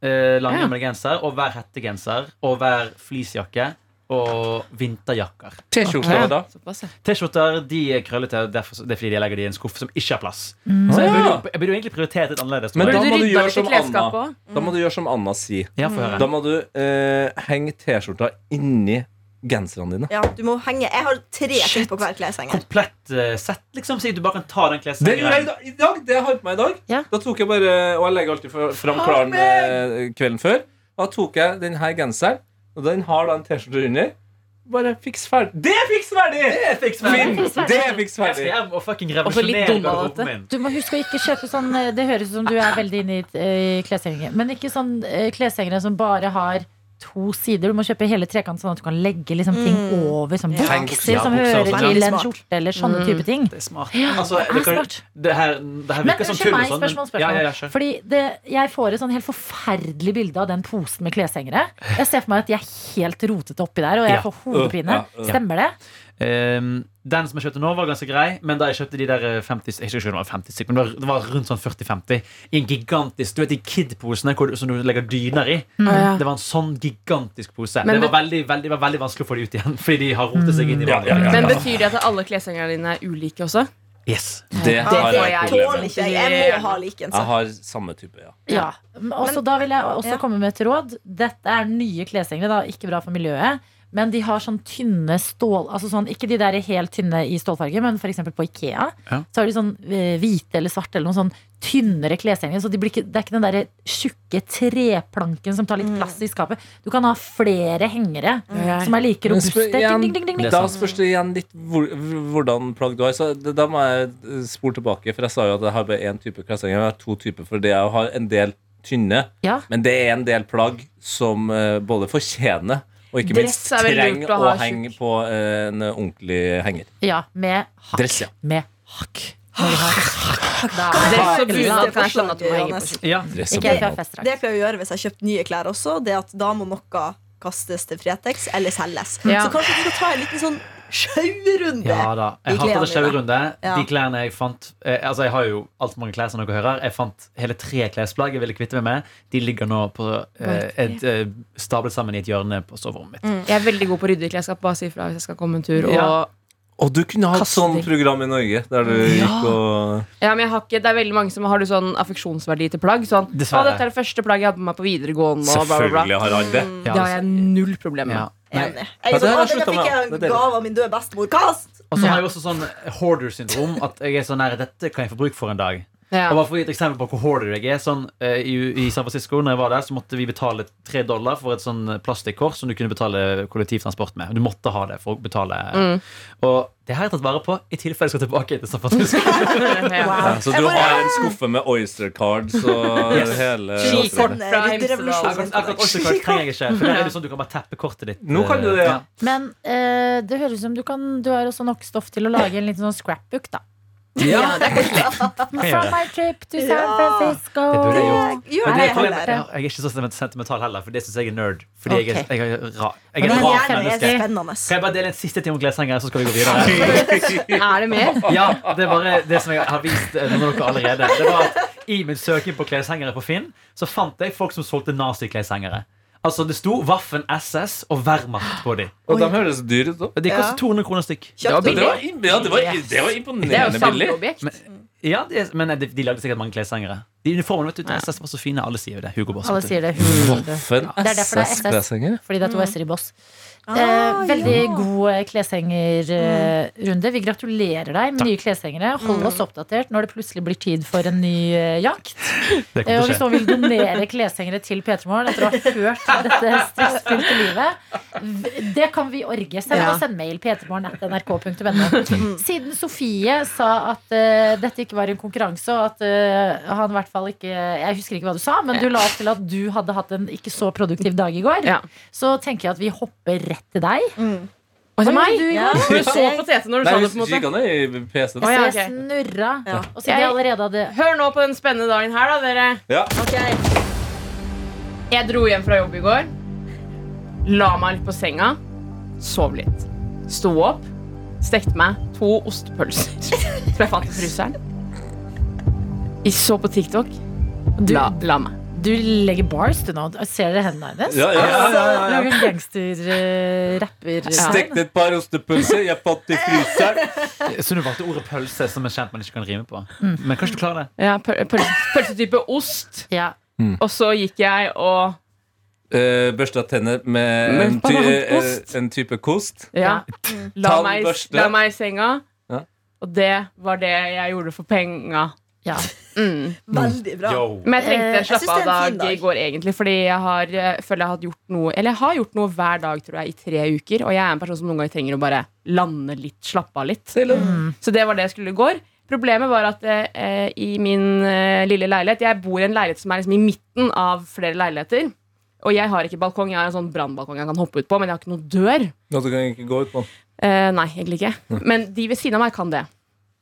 [SPEAKER 5] eh, langærmet genser, og hver hettegenser, og hver fleecejakke, og vinterjakker.
[SPEAKER 6] T-skjorte da.
[SPEAKER 3] Såpass, ja.
[SPEAKER 5] T-skjorter de er krøllete, og derfor, det er fordi de legger de i en skuff som ikke har plass. Så jeg
[SPEAKER 6] Ah,
[SPEAKER 5] burde,
[SPEAKER 6] ja.
[SPEAKER 5] jo- jeg burde jo egentlig prioritert litt annerledes.
[SPEAKER 6] Men
[SPEAKER 5] tror
[SPEAKER 3] Burde
[SPEAKER 6] da
[SPEAKER 5] jeg.
[SPEAKER 6] må du
[SPEAKER 3] rydda
[SPEAKER 6] gjøre
[SPEAKER 3] litt i
[SPEAKER 6] som
[SPEAKER 3] klesskapet
[SPEAKER 6] Anna.
[SPEAKER 3] også?
[SPEAKER 6] Da må du gjøre som Anna sier.
[SPEAKER 5] ja, få
[SPEAKER 6] Da
[SPEAKER 5] høre.
[SPEAKER 6] må du eh, henge T-skjorta inni genserne dine.
[SPEAKER 4] Ja, du må henge. Jeg har tre ting på hver kleshenger.
[SPEAKER 5] Komplett eh, sett, liksom. Si at du bare kan ta den
[SPEAKER 6] Det gjorde jeg i
[SPEAKER 5] kleshengeren.
[SPEAKER 6] dag. I dag, det jeg har på meg i dag.
[SPEAKER 2] Ja.
[SPEAKER 6] Da tok jeg bare, Og jeg legger alltid fra- fram klaren eh, kvelden før. Da tok jeg den her genseren, og den har da en T-skjorte under. Bare fiks ferdig. Det er fiks ferdig! Det er fiks
[SPEAKER 5] ferdig.
[SPEAKER 6] Det er fiks
[SPEAKER 5] Jeg skal
[SPEAKER 6] ferdig.
[SPEAKER 5] hjem og fucking
[SPEAKER 3] Også litt
[SPEAKER 5] revolusjonere
[SPEAKER 3] Donald,
[SPEAKER 5] garderoben min.
[SPEAKER 2] Du må huske å ikke kjøpe sånn eh, Det høres ut som du er veldig inne i eh, kleshengere. Men ikke sånn eh, kleshengere som bare har to sider. Du må kjøpe hele trekanten sånn at du kan legge liksom, ting over. Som
[SPEAKER 4] Ja.
[SPEAKER 2] bukser
[SPEAKER 5] Mm. Ja,
[SPEAKER 2] som
[SPEAKER 5] bukser og
[SPEAKER 2] hører
[SPEAKER 5] sånn,
[SPEAKER 4] ja.
[SPEAKER 2] til en
[SPEAKER 4] Smart.
[SPEAKER 2] skjorte, eller sånne type ting.
[SPEAKER 5] Det er smart.
[SPEAKER 2] Ja,
[SPEAKER 5] Altså,
[SPEAKER 2] det er
[SPEAKER 5] det, kan,
[SPEAKER 2] smart.
[SPEAKER 5] det, her, det her
[SPEAKER 2] Men
[SPEAKER 5] virker som
[SPEAKER 2] unnskyld
[SPEAKER 5] tull. og
[SPEAKER 2] meg,
[SPEAKER 5] sånn, men-
[SPEAKER 2] spørsmål, spørsmål.
[SPEAKER 5] Ja, ja, ja, sure.
[SPEAKER 2] Fordi det, jeg får et sånn helt forferdelig bilde av den posen med kleshengere. Jeg ser for meg at jeg er helt rotete oppi der, og jeg
[SPEAKER 5] Ja.
[SPEAKER 2] får hodepine.
[SPEAKER 6] Ja, ja.
[SPEAKER 2] Stemmer det?
[SPEAKER 5] Ehm, den som jeg kjøpte nå, var ganske grei, men da jeg kjøpte de der eh, 50, jeg husker ikke om det var 50 stykk, men det var, det var rundt sånn 40-50 i en gigantisk Du vet de Kid-posene hvor du- som du legger dyner i?
[SPEAKER 3] ja.
[SPEAKER 5] Det var en sånn gigantisk pose.
[SPEAKER 3] Men
[SPEAKER 5] det var
[SPEAKER 3] vet-
[SPEAKER 5] veldig, veldig, det var veldig vanskelig å få de ut igjen, fordi de har rotet seg inn i
[SPEAKER 6] Ja, ja, ja,
[SPEAKER 5] hverandre.
[SPEAKER 3] Men betyr det at alle kleshengerne dine er ulike også?
[SPEAKER 5] Yes.
[SPEAKER 6] Ah, Det
[SPEAKER 4] Ja,
[SPEAKER 6] har
[SPEAKER 4] det
[SPEAKER 6] jeg
[SPEAKER 3] tåler
[SPEAKER 6] problemer
[SPEAKER 4] tåler
[SPEAKER 6] med.
[SPEAKER 4] ikke jeg. Jeg må ha like en
[SPEAKER 6] Jeg
[SPEAKER 4] sånn.
[SPEAKER 6] har samme type, ja.
[SPEAKER 2] Ja. Og så da vil jeg også
[SPEAKER 4] Ja.
[SPEAKER 2] komme med et råd. Dette er nye kleshengere, da, ikke bra for miljøet. Men de har sånn tynne stål altså sånn, Ikke de der helt tynne i stålfarge, men f.eks. på Ikea.
[SPEAKER 5] Ja.
[SPEAKER 2] Så har de sånn eh, hvite eller svarte eller noen sånn tynnere kleshengere. Så de blir ikke, det er ikke den derre tjukke treplanken som tar litt plass i skapet. Du kan ha flere hengere som er like
[SPEAKER 6] Men spør
[SPEAKER 2] robuste. Ding,
[SPEAKER 6] igjen-
[SPEAKER 2] ding, ding, ding, ding.
[SPEAKER 6] Da spørs det igjen litt hvor, hvordan plagg du har. Så det, da må jeg eh, spole tilbake, for jeg sa jo at jeg har bare én type kleshenger. Jeg har to typer, for det jeg har en del tynne.
[SPEAKER 2] Ja.
[SPEAKER 6] Men det er en del plagg som eh, både fortjener og ikke minst
[SPEAKER 3] Dress er vel
[SPEAKER 6] trenger
[SPEAKER 3] lurt å
[SPEAKER 6] å,
[SPEAKER 3] ha
[SPEAKER 6] henge
[SPEAKER 3] tjukk.
[SPEAKER 6] på eh, en ordentlig henger.
[SPEAKER 2] ja, med hakk.
[SPEAKER 6] Dress, ja.
[SPEAKER 2] Med hakk. Når du har hakk. Da er
[SPEAKER 3] Dress og
[SPEAKER 2] det-
[SPEAKER 3] bunad kan jeg skjønne sånn at du må henge på.
[SPEAKER 5] Ja.
[SPEAKER 6] Dress og
[SPEAKER 2] Ikke helt fra
[SPEAKER 6] bunad.
[SPEAKER 2] festdrakt.
[SPEAKER 4] Det jeg pleier å gjøre hvis jeg har kjøpt nye klær også, det er at da må noe kastes til Fretex eller selges.
[SPEAKER 3] Ja.
[SPEAKER 4] Så kanskje du skal ta en liten sånn sjauerunde.
[SPEAKER 5] Ja da. Jeg
[SPEAKER 4] De
[SPEAKER 5] hater
[SPEAKER 4] klærne
[SPEAKER 5] det sjauerunde.
[SPEAKER 4] Ja.
[SPEAKER 5] De klærne jeg fant eh, Altså, jeg har jo altfor mange klær som dere hører. Jeg fant hele tre klesplagg jeg ville kvitte meg med. De ligger nå på eh, et, eh, stablet sammen i et hjørne på soverommet
[SPEAKER 4] Mm,
[SPEAKER 5] mitt.
[SPEAKER 3] Jeg er veldig god på å rydde i klesskap. Bare si ifra hvis jeg skal komme en tur. Og, ja.
[SPEAKER 5] Ja.
[SPEAKER 6] Og du kunne hatt
[SPEAKER 3] Kasting.
[SPEAKER 6] sånn program i Norge, der du gikk og
[SPEAKER 3] men jeg har ikke, det er veldig mange som har du sånn affeksjonsverdi til plagg. Sånn, å,
[SPEAKER 5] Dessverre.
[SPEAKER 3] 'Dette er det første plagget jeg hadde på meg på videregående.' Og bla, Mm. bla, bla.
[SPEAKER 6] Selvfølgelig har alle det.
[SPEAKER 5] Ja, altså.
[SPEAKER 3] Det har jeg null problem med.
[SPEAKER 5] ja. Nei,
[SPEAKER 4] Enig. Jeg
[SPEAKER 6] Ja,
[SPEAKER 4] er sånn, «Å,
[SPEAKER 6] det har jeg
[SPEAKER 4] denne
[SPEAKER 6] sluttet
[SPEAKER 4] fikk
[SPEAKER 6] med.
[SPEAKER 4] jeg
[SPEAKER 6] Det er
[SPEAKER 4] en gave av min døde bestemor. Kast!
[SPEAKER 5] Og så har jeg også sånn hoarder-syndrom. At jeg er sånn, nei, dette kan jeg få bruk for en dag.
[SPEAKER 3] Ja.
[SPEAKER 5] Og bare for å gi et eksempel på hvor hordy jeg er sånn, eh, i, I San Francisco når jeg var der, så måtte vi betale tre dollar for et sånn plastikkort som du kunne betale kollektivtransport med. Du måtte ha det for å betale. Og det har jeg tatt vare på i tilfelle jeg skal tilbake til San Francisco.
[SPEAKER 6] Ja, så du har en skuffe med Oyster Cards og hele
[SPEAKER 3] Skikort.
[SPEAKER 4] Sånn, eh,
[SPEAKER 3] fra
[SPEAKER 4] litt
[SPEAKER 3] Hemsedal.
[SPEAKER 5] akkurat akkurat også kort trenger jeg ikke. For der er det sånn du kan bare tappe kortet ditt.
[SPEAKER 6] Nå kan du det, ja.
[SPEAKER 2] Men eh, det høres ut som du, kan, du har også nok stoff til å lage en liten sånn scrapbook, da.
[SPEAKER 5] ja.
[SPEAKER 2] From my trip to San
[SPEAKER 4] Ja.
[SPEAKER 2] Francisco.
[SPEAKER 5] Det burde jeg gjort.
[SPEAKER 4] Gjør
[SPEAKER 5] Men
[SPEAKER 4] det,
[SPEAKER 5] det,
[SPEAKER 4] heller.
[SPEAKER 5] jeg, jeg er ikke så sentimental heller, for det syns jeg er nerd. Fordi jeg er,
[SPEAKER 2] Ok.
[SPEAKER 5] jeg er, ra,
[SPEAKER 2] Men
[SPEAKER 5] jeg er
[SPEAKER 2] du er
[SPEAKER 5] et rart
[SPEAKER 2] gjerne
[SPEAKER 4] Gjerne er
[SPEAKER 5] menneske.
[SPEAKER 4] spennende.
[SPEAKER 5] Kan jeg bare dele en siste ting om kleshenger, så skal vi gå videre?
[SPEAKER 3] Er det mer?
[SPEAKER 5] Ja, Det er bare det som jeg har vist eh, noen av dere allerede. Det var at I min søking på kleshengere på Finn Så fant jeg folk som solgte nazikleshengere. Altså Det sto Waffen SS og Wehrmacht på dem.
[SPEAKER 6] Og de høres dyre ut, da.
[SPEAKER 5] Det
[SPEAKER 4] Ja.
[SPEAKER 5] koster 200 kroner stykk.
[SPEAKER 6] Ja,
[SPEAKER 4] Kjapt
[SPEAKER 6] men
[SPEAKER 4] billig.
[SPEAKER 6] det, var, ja, det, var, det var
[SPEAKER 3] Det er jo
[SPEAKER 6] imponerende billig.
[SPEAKER 3] samleobjekt.
[SPEAKER 5] Ja, det, er- men eh, de, de lagde sikkert mange kleshengere. De uniformene vet du, til SS var så fine. Alle sier jo det. Hugo Boss.
[SPEAKER 2] Alle
[SPEAKER 5] vet du.
[SPEAKER 2] sier det. hun-
[SPEAKER 6] For en
[SPEAKER 2] Det er derfor det er SS.
[SPEAKER 6] SS-kleshenger.
[SPEAKER 2] Fordi det er to s-er i boss.
[SPEAKER 4] Ah,
[SPEAKER 2] Eh, veldig
[SPEAKER 4] ja. Mm.
[SPEAKER 2] god eh, kleshengerrunde. Vi gratulerer deg med nye kleshengere. Hold oss oppdatert når det plutselig blir tid for en ny eh, jakt. Eh,
[SPEAKER 5] Det kommer
[SPEAKER 2] og
[SPEAKER 5] til
[SPEAKER 2] hvis
[SPEAKER 5] å skje.
[SPEAKER 2] noen vil donere kleshengere til P3 Morgen etter å ha hørt dette stressfylte livet, v- det kan vi orge. Send
[SPEAKER 3] Ja. Mhm.
[SPEAKER 2] oss en mail. p3morgen.nrk.no. Siden Sofie sa at eh, dette ikke var en konkurranse, og at eh, han i hvert fall ikke Jeg husker ikke hva du sa, men du la opp til at du hadde hatt en ikke så produktiv dag i går.
[SPEAKER 3] Ja.
[SPEAKER 2] Så tenker jeg at vi hopper rett til deg.
[SPEAKER 3] Og
[SPEAKER 2] Hva gjorde
[SPEAKER 3] meg?
[SPEAKER 2] du i
[SPEAKER 4] Ja.
[SPEAKER 2] går?
[SPEAKER 3] Du så på Tete når du
[SPEAKER 6] Nei,
[SPEAKER 3] sa det,
[SPEAKER 6] hvis
[SPEAKER 3] på en måte.
[SPEAKER 6] kikene i
[SPEAKER 3] Å,
[SPEAKER 6] PC-en.
[SPEAKER 3] ja,
[SPEAKER 2] Så jeg
[SPEAKER 3] ok.
[SPEAKER 2] snurra.
[SPEAKER 4] Ja.
[SPEAKER 2] Og siden jeg allerede hadde
[SPEAKER 3] Hør nå på den spennende dagen her, da, dere.
[SPEAKER 6] Ja.
[SPEAKER 3] Jeg dro hjem fra jobb i går. La meg litt på senga. Sov litt. Sto opp. Stekte meg to ostepølser som jeg fant i fryseren. Jeg så på TikTok. La, la meg.
[SPEAKER 2] Du legger bars, du nå. Ser dere hendene hennes?
[SPEAKER 6] Ja, ja, ja, ja, ja.
[SPEAKER 2] Lager eh, gangster-rapper.
[SPEAKER 6] Stekte et par ostepølser, jeg fant i fryseren.
[SPEAKER 5] Så du valgte ordet pølse, som er kjent man ikke kan rime på.
[SPEAKER 2] Mm.
[SPEAKER 5] Men kanskje du klarer det?
[SPEAKER 3] Ja, pøl, pøl, pølsetype ost.
[SPEAKER 2] Ja.
[SPEAKER 3] Og så gikk jeg og
[SPEAKER 6] Eh, Børsta tenner med en, ty eh, en type kost.
[SPEAKER 3] Ja.
[SPEAKER 4] Mm.
[SPEAKER 3] La,
[SPEAKER 6] Ta den
[SPEAKER 3] meg,
[SPEAKER 6] første.
[SPEAKER 3] la meg i senga.
[SPEAKER 6] Ja.
[SPEAKER 3] Og det var det jeg gjorde for penga.
[SPEAKER 2] Ja.
[SPEAKER 3] Mm.
[SPEAKER 4] Veldig bra.
[SPEAKER 3] Men
[SPEAKER 2] Eh,
[SPEAKER 3] jeg trengte
[SPEAKER 2] jeg
[SPEAKER 3] en slapp
[SPEAKER 4] synes det er en fin
[SPEAKER 3] av-dag
[SPEAKER 4] dag.
[SPEAKER 3] i går, egentlig. Fordi jeg har, eh, føler jeg har gjort noe Eller jeg har gjort noe hver dag tror jeg, i tre uker. Og jeg er en person som noen ganger trenger å bare lande litt, slappe av litt. Så det var det jeg skulle i går. Problemet var at eh, i min eh, lille leilighet Jeg bor i en leilighet som er liksom i midten av flere leiligheter. Og jeg har ikke balkong. Jeg har en sånn brannbalkong jeg kan hoppe ut på, men jeg har ikke noen dør.
[SPEAKER 6] Nå kan jeg ikke gå ut på den.
[SPEAKER 3] Eh, nei, egentlig ikke. Men de ved siden av meg kan det.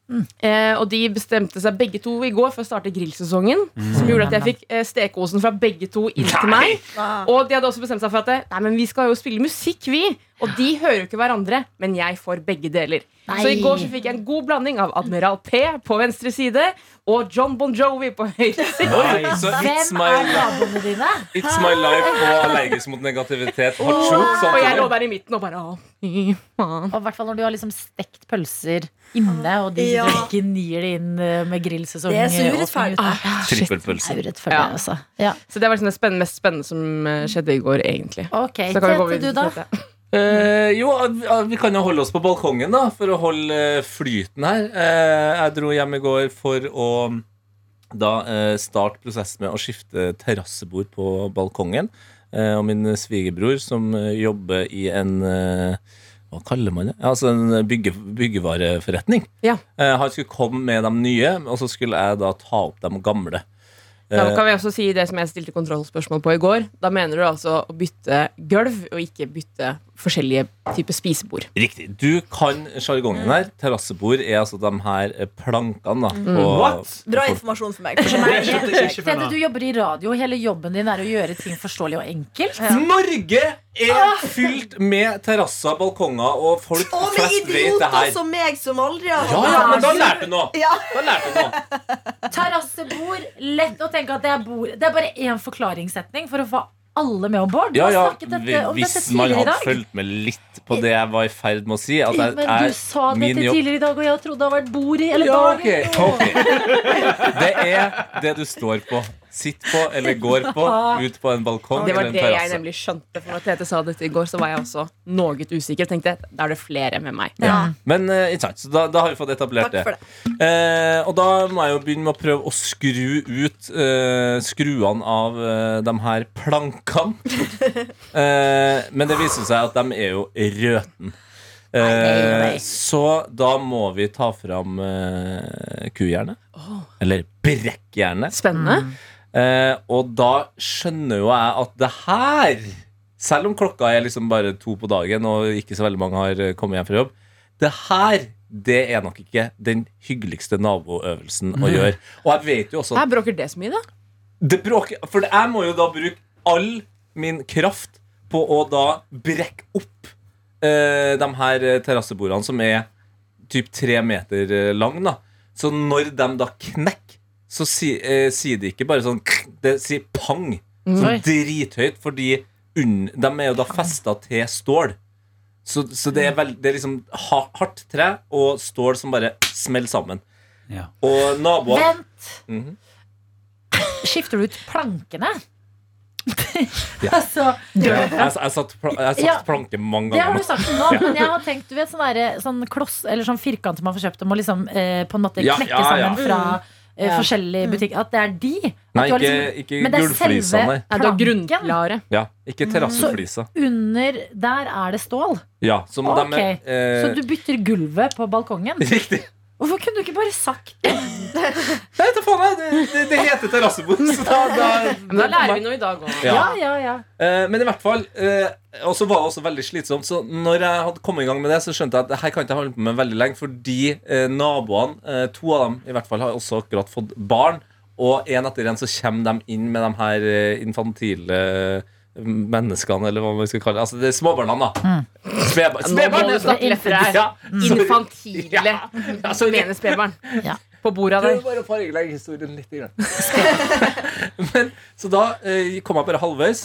[SPEAKER 2] Mm.
[SPEAKER 3] Eh, og de bestemte seg begge to i går for å starte grillsesongen.
[SPEAKER 2] Mm.
[SPEAKER 3] Som gjorde at jeg fikk eh, stekeosen fra begge to inn til meg.
[SPEAKER 4] Ah.
[SPEAKER 3] Og de hadde også bestemt seg for at eh, Nei, men vi skal jo spille musikk, vi. Og de hører jo ikke hverandre, men jeg får begge deler.
[SPEAKER 2] Nei.
[SPEAKER 3] Så i går så fikk jeg en god blanding av Admiral P på venstre side og John Bon Jovi på høyre side.
[SPEAKER 6] Oi, så it's
[SPEAKER 2] Hvem
[SPEAKER 6] my,
[SPEAKER 2] er naboene dine?
[SPEAKER 6] it's my life og allergisk mot negativitet. sånn Hot choke,
[SPEAKER 3] Og jeg lå
[SPEAKER 6] samtidig.
[SPEAKER 3] der i midten og bare Å, fy faen.
[SPEAKER 2] Og i hvert fall når du har liksom stekt pølser inne, og de
[SPEAKER 4] Ja.
[SPEAKER 2] ikke gnir det inn eh, med grillsesong.
[SPEAKER 4] Det er så
[SPEAKER 2] eh,
[SPEAKER 4] urettferdig. Ah,
[SPEAKER 2] åpen ute. Det
[SPEAKER 6] Trippelpølse.
[SPEAKER 2] er urettferdig,
[SPEAKER 3] Ja.
[SPEAKER 2] altså. Ja.
[SPEAKER 3] Så det var liksom det spennende, mest spennende som eh, skjedde i går, egentlig.
[SPEAKER 2] Ok,
[SPEAKER 3] Så kan vi gå
[SPEAKER 2] Tete, du
[SPEAKER 3] videre
[SPEAKER 2] da?
[SPEAKER 3] til dette.
[SPEAKER 6] Eh, jo, eh, vi kan jo holde oss på balkongen da For å holde eh, flyten her Eh, Jeg dro hjem i går for å Da eh, starte prosessen med å skifte terrassebord på balkongen Eh, Og min svigerbror som eh, jobber i en eh, Hva kaller man det? Ja, Altså en bygge, byggevareforretning
[SPEAKER 3] Ja.
[SPEAKER 6] Eh, Han skulle komme med de nye Og så skulle jeg da ta opp de gamle
[SPEAKER 3] Da
[SPEAKER 6] Eh,
[SPEAKER 3] kan vi også si det som jeg stilte kontrollspørsmål på i går. Da mener du altså å bytte gulv, og ikke bytte forskjellige typer spisebord.
[SPEAKER 6] Riktig. Du kan sjargongen her. Terrassebord er altså de her eh, plankene da, på,
[SPEAKER 5] What?
[SPEAKER 4] Bra informasjon for meg.
[SPEAKER 5] Det skjønte jeg ikke før
[SPEAKER 2] Tete,
[SPEAKER 5] nå.
[SPEAKER 2] du jobber i radio, og hele jobben din er å gjøre ting forståelig og enkelt.
[SPEAKER 6] Norge
[SPEAKER 2] Ah!
[SPEAKER 6] er fylt med terrasser, balkonger, og folk
[SPEAKER 4] Og med
[SPEAKER 6] flest vet det
[SPEAKER 4] idioter
[SPEAKER 6] her.
[SPEAKER 4] som meg, som aldri har
[SPEAKER 6] Ja, ja, men da lærte du noe!
[SPEAKER 4] Ja.
[SPEAKER 6] Da lærte du noe.
[SPEAKER 2] Terrassebord, lett å tenke at det er bord. Det er bare én forklaringssetning for å få alle med om bord. Du
[SPEAKER 6] Ja,
[SPEAKER 2] har
[SPEAKER 6] ja,
[SPEAKER 2] snakket dette, om
[SPEAKER 6] hvis
[SPEAKER 2] dette
[SPEAKER 6] man
[SPEAKER 2] tidligere i
[SPEAKER 6] hadde
[SPEAKER 2] dag.
[SPEAKER 6] fulgt med litt på det jeg var i ferd med å si at
[SPEAKER 2] Ja,
[SPEAKER 6] jeg,
[SPEAKER 2] men du sa
[SPEAKER 6] er
[SPEAKER 2] dette
[SPEAKER 6] min jobb
[SPEAKER 2] tidligere i dag, og jeg trodde det hadde vært bord i eller
[SPEAKER 6] Ja,
[SPEAKER 2] dagen.
[SPEAKER 6] ok, ok. Det er det du står på. sitter på eller går på
[SPEAKER 2] Ah.
[SPEAKER 6] ut på en balkong
[SPEAKER 3] Det var
[SPEAKER 6] eller en
[SPEAKER 3] det jeg
[SPEAKER 6] terrasse.
[SPEAKER 3] nemlig skjønte. For når Tete sa dette i går, så var jeg også noe usikker. Jeg Tenkte, Da er det flere med meg.
[SPEAKER 6] Ja. Men eh, ikke sant, så da, da har vi fått etablert
[SPEAKER 4] Takk for det.
[SPEAKER 6] Eh, og da må jeg jo begynne med å prøve å skru ut eh, skruene av eh, de her plankene. eh, men det viser seg at de er jo røten. Eh, så da må vi ta fram eh, kujernet. Eller brekkjernet.
[SPEAKER 3] Spennende.
[SPEAKER 6] Eh, og da skjønner jo jeg at det her, selv om klokka er liksom bare to på dagen, og ikke så veldig mange har eh, kommet hjem fra jobb, det her det er nok ikke den hyggeligste naboøvelsen å gjøre. Og jeg vet jo også at
[SPEAKER 3] Her bråker det så mye, da.
[SPEAKER 6] det bråker, For jeg må jo da bruke all min kraft på å da brekke opp eh, de her eh, terrassebordene som er typ tre meter eh, lang da. Så når de da knekker, så si, eh, sier de ikke bare sånn kr- Det sier pang.
[SPEAKER 2] Oi.
[SPEAKER 6] Sånn drithøyt, fordi unn, de er jo da festa til stål. Så, så det er, vel, det er liksom ha, hardt tre og stål som bare smeller sammen.
[SPEAKER 5] Ja.
[SPEAKER 6] Og naboene
[SPEAKER 2] Vent!
[SPEAKER 6] Mhm.
[SPEAKER 2] Skifter du ut plankene?
[SPEAKER 6] Ja.
[SPEAKER 2] altså,
[SPEAKER 6] Ja, jeg, jeg satt, pla- jeg satt
[SPEAKER 2] Ja.
[SPEAKER 6] planke mange
[SPEAKER 2] det har
[SPEAKER 6] ganger.
[SPEAKER 2] du sagt nå, men jeg har tenkt Du vet sånn, derre- sånn kloss eller sånn firkant man får kjøpt, og må liksom eh, på en måte
[SPEAKER 6] Ja,
[SPEAKER 2] knekke
[SPEAKER 6] ja, ja.
[SPEAKER 2] sammen fra eh, forskjellige butikker. At det er de. At
[SPEAKER 6] Nei,
[SPEAKER 2] du har
[SPEAKER 6] ikke,
[SPEAKER 2] liksom,
[SPEAKER 6] ikke
[SPEAKER 2] men det er
[SPEAKER 6] gulvflisa, nei.
[SPEAKER 2] selve Mm.
[SPEAKER 3] Ja, det var
[SPEAKER 2] planken.
[SPEAKER 3] grunnklare.
[SPEAKER 6] Ja, ikke terrasseflisa.
[SPEAKER 2] Under der er det stål.
[SPEAKER 6] Ja, som
[SPEAKER 2] Ok,
[SPEAKER 6] de er
[SPEAKER 2] Så
[SPEAKER 6] eh,
[SPEAKER 2] du bytter gulvet på balkongen?
[SPEAKER 6] Riktig.
[SPEAKER 2] Hvorfor kunne du ikke bare sagt det?
[SPEAKER 6] Nei, ta faen, jeg, det, det, det heter terrassebord, så da, da,
[SPEAKER 3] Men da lærer vi noe i dag òg.
[SPEAKER 6] Ja.
[SPEAKER 2] Ja, ja, ja.
[SPEAKER 6] Eh, Men i hvert fall eh, Og så var det også veldig slitsomt Så når jeg hadde kommet i gang med det Så skjønte jeg at det her kan ikke jeg holde på med veldig lenge Fordi eh, naboene, eh, to av dem i hvert fall Har også akkurat fått barn Og en etter en så kommer de inn med de her eh, Infantile eh, menneskene Eller hva man skal kalle det Altså det er småbarna da Spedbarn-
[SPEAKER 3] Nå må
[SPEAKER 6] spedbarn,
[SPEAKER 3] du
[SPEAKER 6] det er sånn-
[SPEAKER 3] snakke lettere her.
[SPEAKER 6] Ja, sorry.
[SPEAKER 3] Infantile.
[SPEAKER 6] Ja.
[SPEAKER 3] Så mener spedbarn.
[SPEAKER 2] Ja.
[SPEAKER 3] På bordet der.
[SPEAKER 6] Prøv bare å fargelegge historien litt. Grann. Men, så da eh, kom jeg bare halvveis.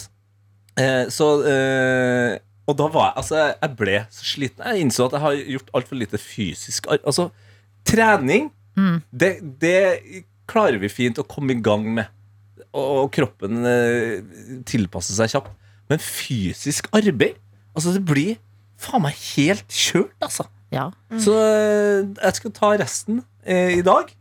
[SPEAKER 6] Eh, så eh, Og da var jeg Altså, jeg ble så sliten. Jeg innså at jeg har gjort altfor lite fysisk ar- Altså, trening, det, det klarer vi fint å komme i gang med. Og, og kroppen eh, tilpasser seg kjapt. Men fysisk arbeid Altså, det blir faen meg helt kjørt, altså.
[SPEAKER 2] Ja.
[SPEAKER 6] Så eh, jeg skal ta resten eh, i dag.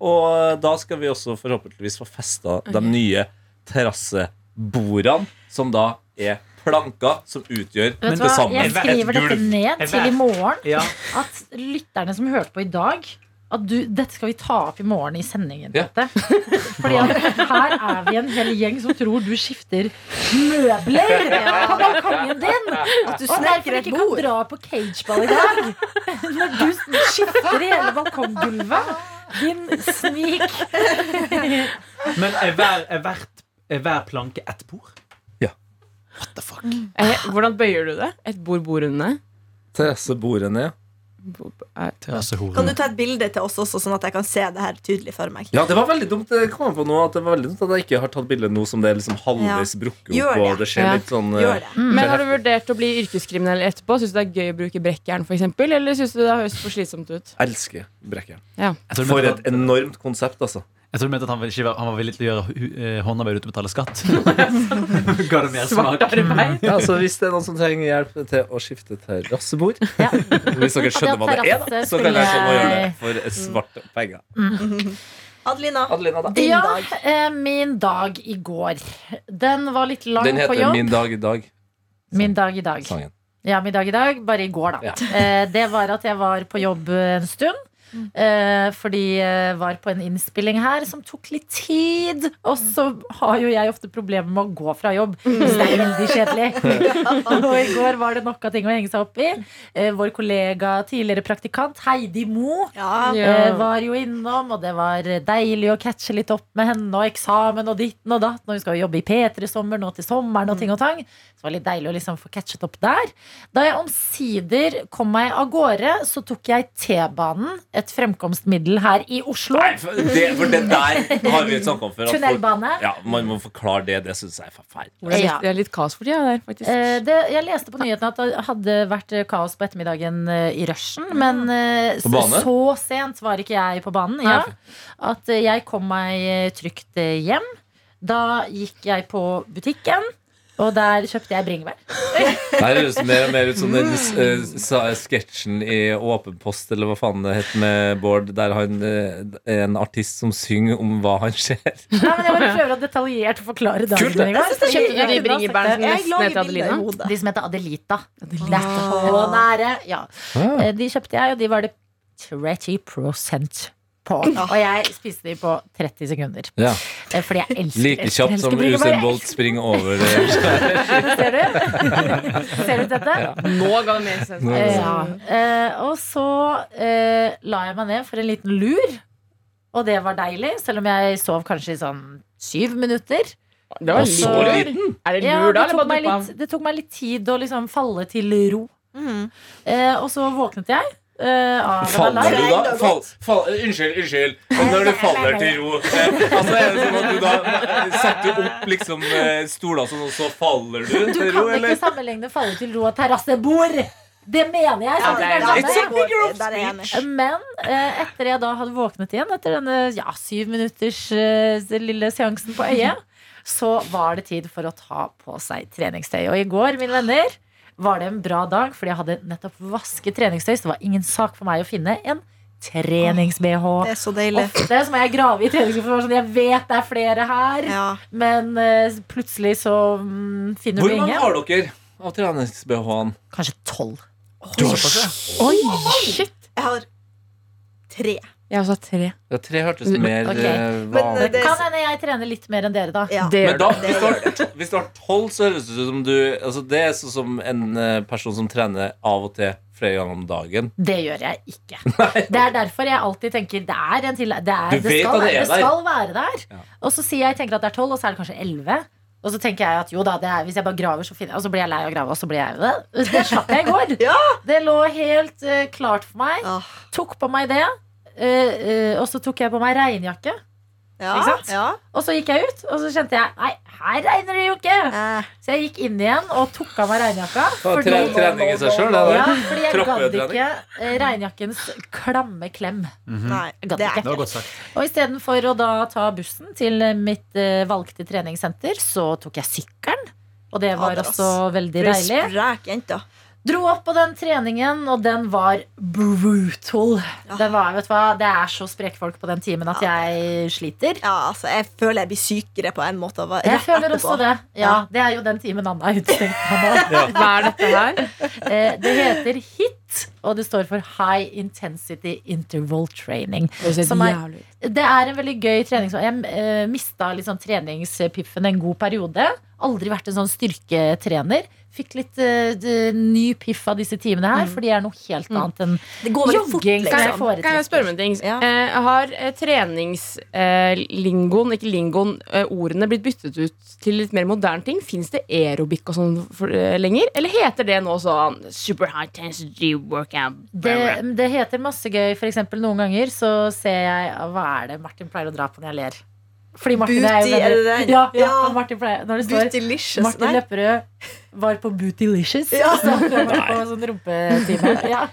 [SPEAKER 6] Og eh, da skal vi også forhåpentligvis få festa de nye terrassebordene, som da er planker som utgjør
[SPEAKER 2] Vet du
[SPEAKER 6] det
[SPEAKER 2] hva?
[SPEAKER 6] samme.
[SPEAKER 2] Jeg skriver dette ned
[SPEAKER 5] Et
[SPEAKER 2] til i
[SPEAKER 5] gulv.
[SPEAKER 2] morgen.
[SPEAKER 5] Ja.
[SPEAKER 2] At lytterne som hørte på i dag at du, Dette skal vi ta opp i morgen i sendingen.
[SPEAKER 6] Ja.
[SPEAKER 2] Dette. Fordi at her er vi en hel gjeng som tror du skifter møbler på balkongen din!
[SPEAKER 4] At
[SPEAKER 2] Og
[SPEAKER 4] du
[SPEAKER 2] derfor
[SPEAKER 4] sneker et
[SPEAKER 2] ikke kan
[SPEAKER 4] bord.
[SPEAKER 2] dra på cageball i dag. Når du skifter hele balkonggulvet. Din snik.
[SPEAKER 5] Men er hver, er, hvert, er hver planke ett bord?
[SPEAKER 3] Eh, Hvordan bøyer du det? Et bord bordene?
[SPEAKER 6] Terrassebordene, ja.
[SPEAKER 5] altså
[SPEAKER 2] Mm.
[SPEAKER 4] Kan du ta et bilde til oss også, sånn at jeg kan se det her tydelig for meg?
[SPEAKER 6] Ja, det var veldig dumt. Det kom jeg på nå at det var veldig dumt at jeg ikke har tatt bilde nå som det er liksom halvveis brukket
[SPEAKER 4] Gjør
[SPEAKER 6] opp.
[SPEAKER 4] det.
[SPEAKER 6] Og det skjer
[SPEAKER 3] Ja.
[SPEAKER 6] litt sånn eh,
[SPEAKER 4] Gjør
[SPEAKER 2] Mm.
[SPEAKER 4] det.
[SPEAKER 3] Men har du vurdert å bli yrkeskriminell etterpå? Syns du det er gøy å bruke brekkjern, for eksempel? Eller syns du det høres for slitsomt ut?
[SPEAKER 6] Elsker brekkjern.
[SPEAKER 5] Jeg tror du
[SPEAKER 6] For
[SPEAKER 5] mente
[SPEAKER 6] et
[SPEAKER 5] at,
[SPEAKER 6] enormt konsept, altså.
[SPEAKER 5] jeg tror du mente at han, var ikke, han var villig til å gjøre hu- eh, håndarbeid uten å betale skatt. Ga det mer
[SPEAKER 3] Svart
[SPEAKER 5] smak?
[SPEAKER 3] arbeid?
[SPEAKER 6] Ja, så Hvis det er noen som trenger hjelp til å skifte terrassebord
[SPEAKER 2] Ja.
[SPEAKER 6] Hvis dere skjønner hva det er, da, så kan jeg sånn å gjøre det for svarte penger.
[SPEAKER 4] Adelina,
[SPEAKER 6] Adelina, da.
[SPEAKER 4] din
[SPEAKER 2] ja,
[SPEAKER 4] dag.
[SPEAKER 2] eh, min dag i går. Den var litt lang
[SPEAKER 6] Den
[SPEAKER 2] på
[SPEAKER 6] heter
[SPEAKER 2] jobb. Min,
[SPEAKER 6] Min dag i dag.
[SPEAKER 2] dag i dag.
[SPEAKER 6] Sangen.
[SPEAKER 2] Ja, min dag i dag. Bare i går, da.
[SPEAKER 6] Ja.
[SPEAKER 2] Eh, det var at jeg var på jobb en stund. Eh, fordi jeg var på en innspilling her som tok litt tid. Og så har jo jeg ofte problemer med å gå fra jobb, så det er veldig kjedelig. og i går var det nok av ting å henge seg opp i. Eh, vår kollega, tidligere praktikant Heidi Mo
[SPEAKER 4] Ja.
[SPEAKER 2] Eh, var jo innom, og det var deilig å catche litt opp med henne og eksamen og ditten og datten, og hun skal jo jobbe i P3 i sommer nå til sommeren og ting og tang. Så det var litt deilig å liksom få catchet opp der. Da jeg omsider kom meg av gårde, så tok jeg T-banen, et fremkomstmiddel her i Oslo.
[SPEAKER 6] Nei, for det, for det der har vi snakka om før. at folk-
[SPEAKER 2] Tunnelbane.
[SPEAKER 6] Ja, man må forklare det. Det syns jeg er forferdelig.
[SPEAKER 3] Det er
[SPEAKER 2] Ja.
[SPEAKER 3] litt, det er litt kaos for tida der, faktisk.
[SPEAKER 2] Eh, det, jeg leste på nyhetene at det hadde vært eh, kaos på ettermiddagen eh, i rushen. Men eh,
[SPEAKER 6] På bane?
[SPEAKER 2] s- så sent var ikke jeg på banen. Ja. At eh, jeg kom meg eh, trygt eh, hjem. Da gikk jeg på butikken, og der kjøpte jeg bringebær.
[SPEAKER 6] Det her høres mer og mer ut som den eh, sa- sketsjen i Åpen post, eller hva faen det het med Bård, der han eh, er en artist som synger om hva han ser.
[SPEAKER 2] Nei, men jeg bare prøver å detaljert forklare dagen min i går.
[SPEAKER 4] det
[SPEAKER 3] Kjøpte
[SPEAKER 4] er
[SPEAKER 3] du
[SPEAKER 4] Jeg
[SPEAKER 3] de
[SPEAKER 4] kunne ha sett
[SPEAKER 3] bringebærene som
[SPEAKER 4] det. Jeg
[SPEAKER 3] nesten
[SPEAKER 4] lager
[SPEAKER 3] heter Adelina?
[SPEAKER 4] bilder i hodet.
[SPEAKER 2] De som heter Adelita. Adelita. Å, nære. Ja.
[SPEAKER 6] Ah.
[SPEAKER 2] Eh, De kjøpte jeg, og de var det 30 på. Og jeg spiste de på 30 sekunder.
[SPEAKER 6] Ja.
[SPEAKER 2] Eh, Fordi jeg elsker
[SPEAKER 6] Like kjapt
[SPEAKER 2] elsker
[SPEAKER 6] som
[SPEAKER 2] bringebær.
[SPEAKER 6] Usain Bolt springer over eh,
[SPEAKER 2] Ser du? Ser du dette?
[SPEAKER 3] Nå ga det mer sens.
[SPEAKER 2] Eh, ja. Eh, og så eh, la jeg meg ned for en liten lur. Og det var deilig, selv om jeg sov kanskje i sånn syv minutter.
[SPEAKER 3] Det var
[SPEAKER 6] så
[SPEAKER 3] litt- Er det
[SPEAKER 2] Ja,
[SPEAKER 3] lur,
[SPEAKER 2] det,
[SPEAKER 3] da? Eller
[SPEAKER 2] tok
[SPEAKER 3] bare
[SPEAKER 2] meg
[SPEAKER 3] duppa?
[SPEAKER 2] litt, det tok meg litt tid å liksom falle til ro. Eh, og så våknet jeg. eh, av en
[SPEAKER 6] Faller
[SPEAKER 2] alarm.
[SPEAKER 6] du da? Fall, fall, unnskyld, unnskyld. Men når du faller til ro eh, Altså er det sånn at du da eh, setter opp liksom eh, stoler sånn, og så faller du
[SPEAKER 2] Du
[SPEAKER 6] til ro,
[SPEAKER 2] kan ikke
[SPEAKER 6] eller?
[SPEAKER 2] sammenligne falle til ro og terrassebord! Det mener jeg! sant?
[SPEAKER 3] det
[SPEAKER 2] Det
[SPEAKER 3] er
[SPEAKER 2] er
[SPEAKER 3] sant.
[SPEAKER 2] det samme.
[SPEAKER 6] It's a figure of
[SPEAKER 4] Der er jeg enig.
[SPEAKER 2] Men eh, etter jeg da hadde våknet igjen Etter denne ja, syv minutters eh, lille seansen på øyet Så var det tid for å ta på seg treningstøy Og i går, mine venner Var det en bra dag Fordi jeg hadde nettopp vasket treningstøy Så det var ingen sak for meg å finne en trenings-BH
[SPEAKER 4] Det er så deilig.
[SPEAKER 2] Ofte så må jeg grave i treningsinformasjon Jeg vet det er flere her
[SPEAKER 4] Ja.
[SPEAKER 2] Men eh, plutselig så mm, finner
[SPEAKER 6] Hvor
[SPEAKER 2] du
[SPEAKER 6] mange
[SPEAKER 2] ingen
[SPEAKER 6] har dere av trenings-BH-en?
[SPEAKER 2] Kanskje tolv
[SPEAKER 3] Oi, shit!
[SPEAKER 4] Jeg har tre.
[SPEAKER 3] Jeg har også hatt tre.
[SPEAKER 6] Ja, tre hørtes mer
[SPEAKER 2] Ok.
[SPEAKER 4] Men,
[SPEAKER 6] eh,
[SPEAKER 4] eh,
[SPEAKER 6] vanlig
[SPEAKER 2] Det
[SPEAKER 4] Det-
[SPEAKER 2] kan hende jeg trener litt mer enn dere da
[SPEAKER 4] Ja.
[SPEAKER 3] Det gjør
[SPEAKER 6] Men da,
[SPEAKER 3] du.
[SPEAKER 6] hvis du, har, hvis du har 12, så høres det ut som du altså Det er sånn som en eh, person som trener av og til flere ganger om dagen.
[SPEAKER 2] Det gjør jeg ikke. Det er derfor jeg alltid tenker det er en til, det, er,
[SPEAKER 6] Du
[SPEAKER 2] det,
[SPEAKER 6] vet
[SPEAKER 2] skal,
[SPEAKER 6] at
[SPEAKER 2] være-
[SPEAKER 6] det er
[SPEAKER 2] det
[SPEAKER 6] der.
[SPEAKER 2] skal være der.
[SPEAKER 6] Ja.
[SPEAKER 2] Og så sier jeg tenker at det er tolv, og så er det kanskje elleve. Og så tenker jeg at jo da, det er, hvis jeg bare graver, så finner jeg Og så blir jeg lei av å grave, og så blir jeg Det, det slapp jeg i går.
[SPEAKER 4] Ja.
[SPEAKER 2] Det lå helt eh, klart for meg.
[SPEAKER 4] Ah.
[SPEAKER 2] Tok på meg det. eh, eh, og så tok jeg på meg regnjakke.
[SPEAKER 4] Ja.
[SPEAKER 2] Ikke sant?
[SPEAKER 4] Ja.
[SPEAKER 2] Og så gikk jeg ut, og så kjente jeg Nei, her regner det jo ikke!
[SPEAKER 4] Eh,
[SPEAKER 2] Så jeg gikk inn igjen og tok av meg regnjakka.
[SPEAKER 6] Ja, tre, trening i seg sjøl, det
[SPEAKER 2] ja,
[SPEAKER 6] der.
[SPEAKER 2] fordi jeg gadd
[SPEAKER 6] Troppetrening.
[SPEAKER 2] ikke eh, regnjakkens klamme klem.
[SPEAKER 6] Mhm.
[SPEAKER 4] Nei,
[SPEAKER 2] Gadd
[SPEAKER 4] det er
[SPEAKER 2] ikke.
[SPEAKER 5] Det var godt sagt.
[SPEAKER 2] Og istedenfor å da ta bussen til mitt eh, valgte treningssenter, så tok jeg sykkelen. Og det var
[SPEAKER 4] Ja, det er
[SPEAKER 2] også veldig
[SPEAKER 4] For ei
[SPEAKER 2] deilig.
[SPEAKER 4] sprek jente.
[SPEAKER 2] Dro opp på den treningen, og den var brutal.
[SPEAKER 4] Ja.
[SPEAKER 2] Den var, vet du hva, Det er så spreke folk på den timen at jeg sliter.
[SPEAKER 4] Ja, altså, jeg føler jeg blir sykere på en måte. av å-
[SPEAKER 2] Jeg
[SPEAKER 4] rett
[SPEAKER 2] føler
[SPEAKER 4] etterpå.
[SPEAKER 2] også det. Ja, Det er jo den timen Anna er utestengt fra nå.
[SPEAKER 3] Hva er dette her?
[SPEAKER 2] Eh, Det heter HIT, og det står for High Intensity Interval Training. Som er- Det er en veldig gøy trening. Jeg eh, mista litt sånn treningspiffen en god periode. Aldri vært en sånn styrketrener. Fikk litt eh, d- ny piff av disse timene
[SPEAKER 4] Mm.
[SPEAKER 2] her, for de er noe helt annet enn
[SPEAKER 4] Det går veldig fort,
[SPEAKER 2] jogging. som jeg
[SPEAKER 4] liksom.
[SPEAKER 3] Kan jeg spørre
[SPEAKER 2] foretrekker.
[SPEAKER 3] om en ting?
[SPEAKER 4] Ja.
[SPEAKER 3] Eh, har eh, treningslingoen, ikke lingoen, eh, ordene blitt byttet ut til litt mer moderne ting? Fins det aerobic og sånn for- eh, lenger? Eller heter det nå sånn super high intensity workout?
[SPEAKER 2] Det, det heter masse gøy. For eksempel, noen ganger så ser jeg Hva er det Martin pleier å dra på når jeg ler? Fordi Martin er jo
[SPEAKER 4] Booty,
[SPEAKER 2] veldig-
[SPEAKER 4] er det det?
[SPEAKER 2] Ja, ja,
[SPEAKER 4] Ja.
[SPEAKER 2] Martin pleier Når det står
[SPEAKER 4] Bootylicious.
[SPEAKER 2] Martin Altså,
[SPEAKER 4] Nei.
[SPEAKER 2] Lepperød var på Bootylicious.
[SPEAKER 4] Ja.
[SPEAKER 2] Så han var på sånn rumpetime. Ja.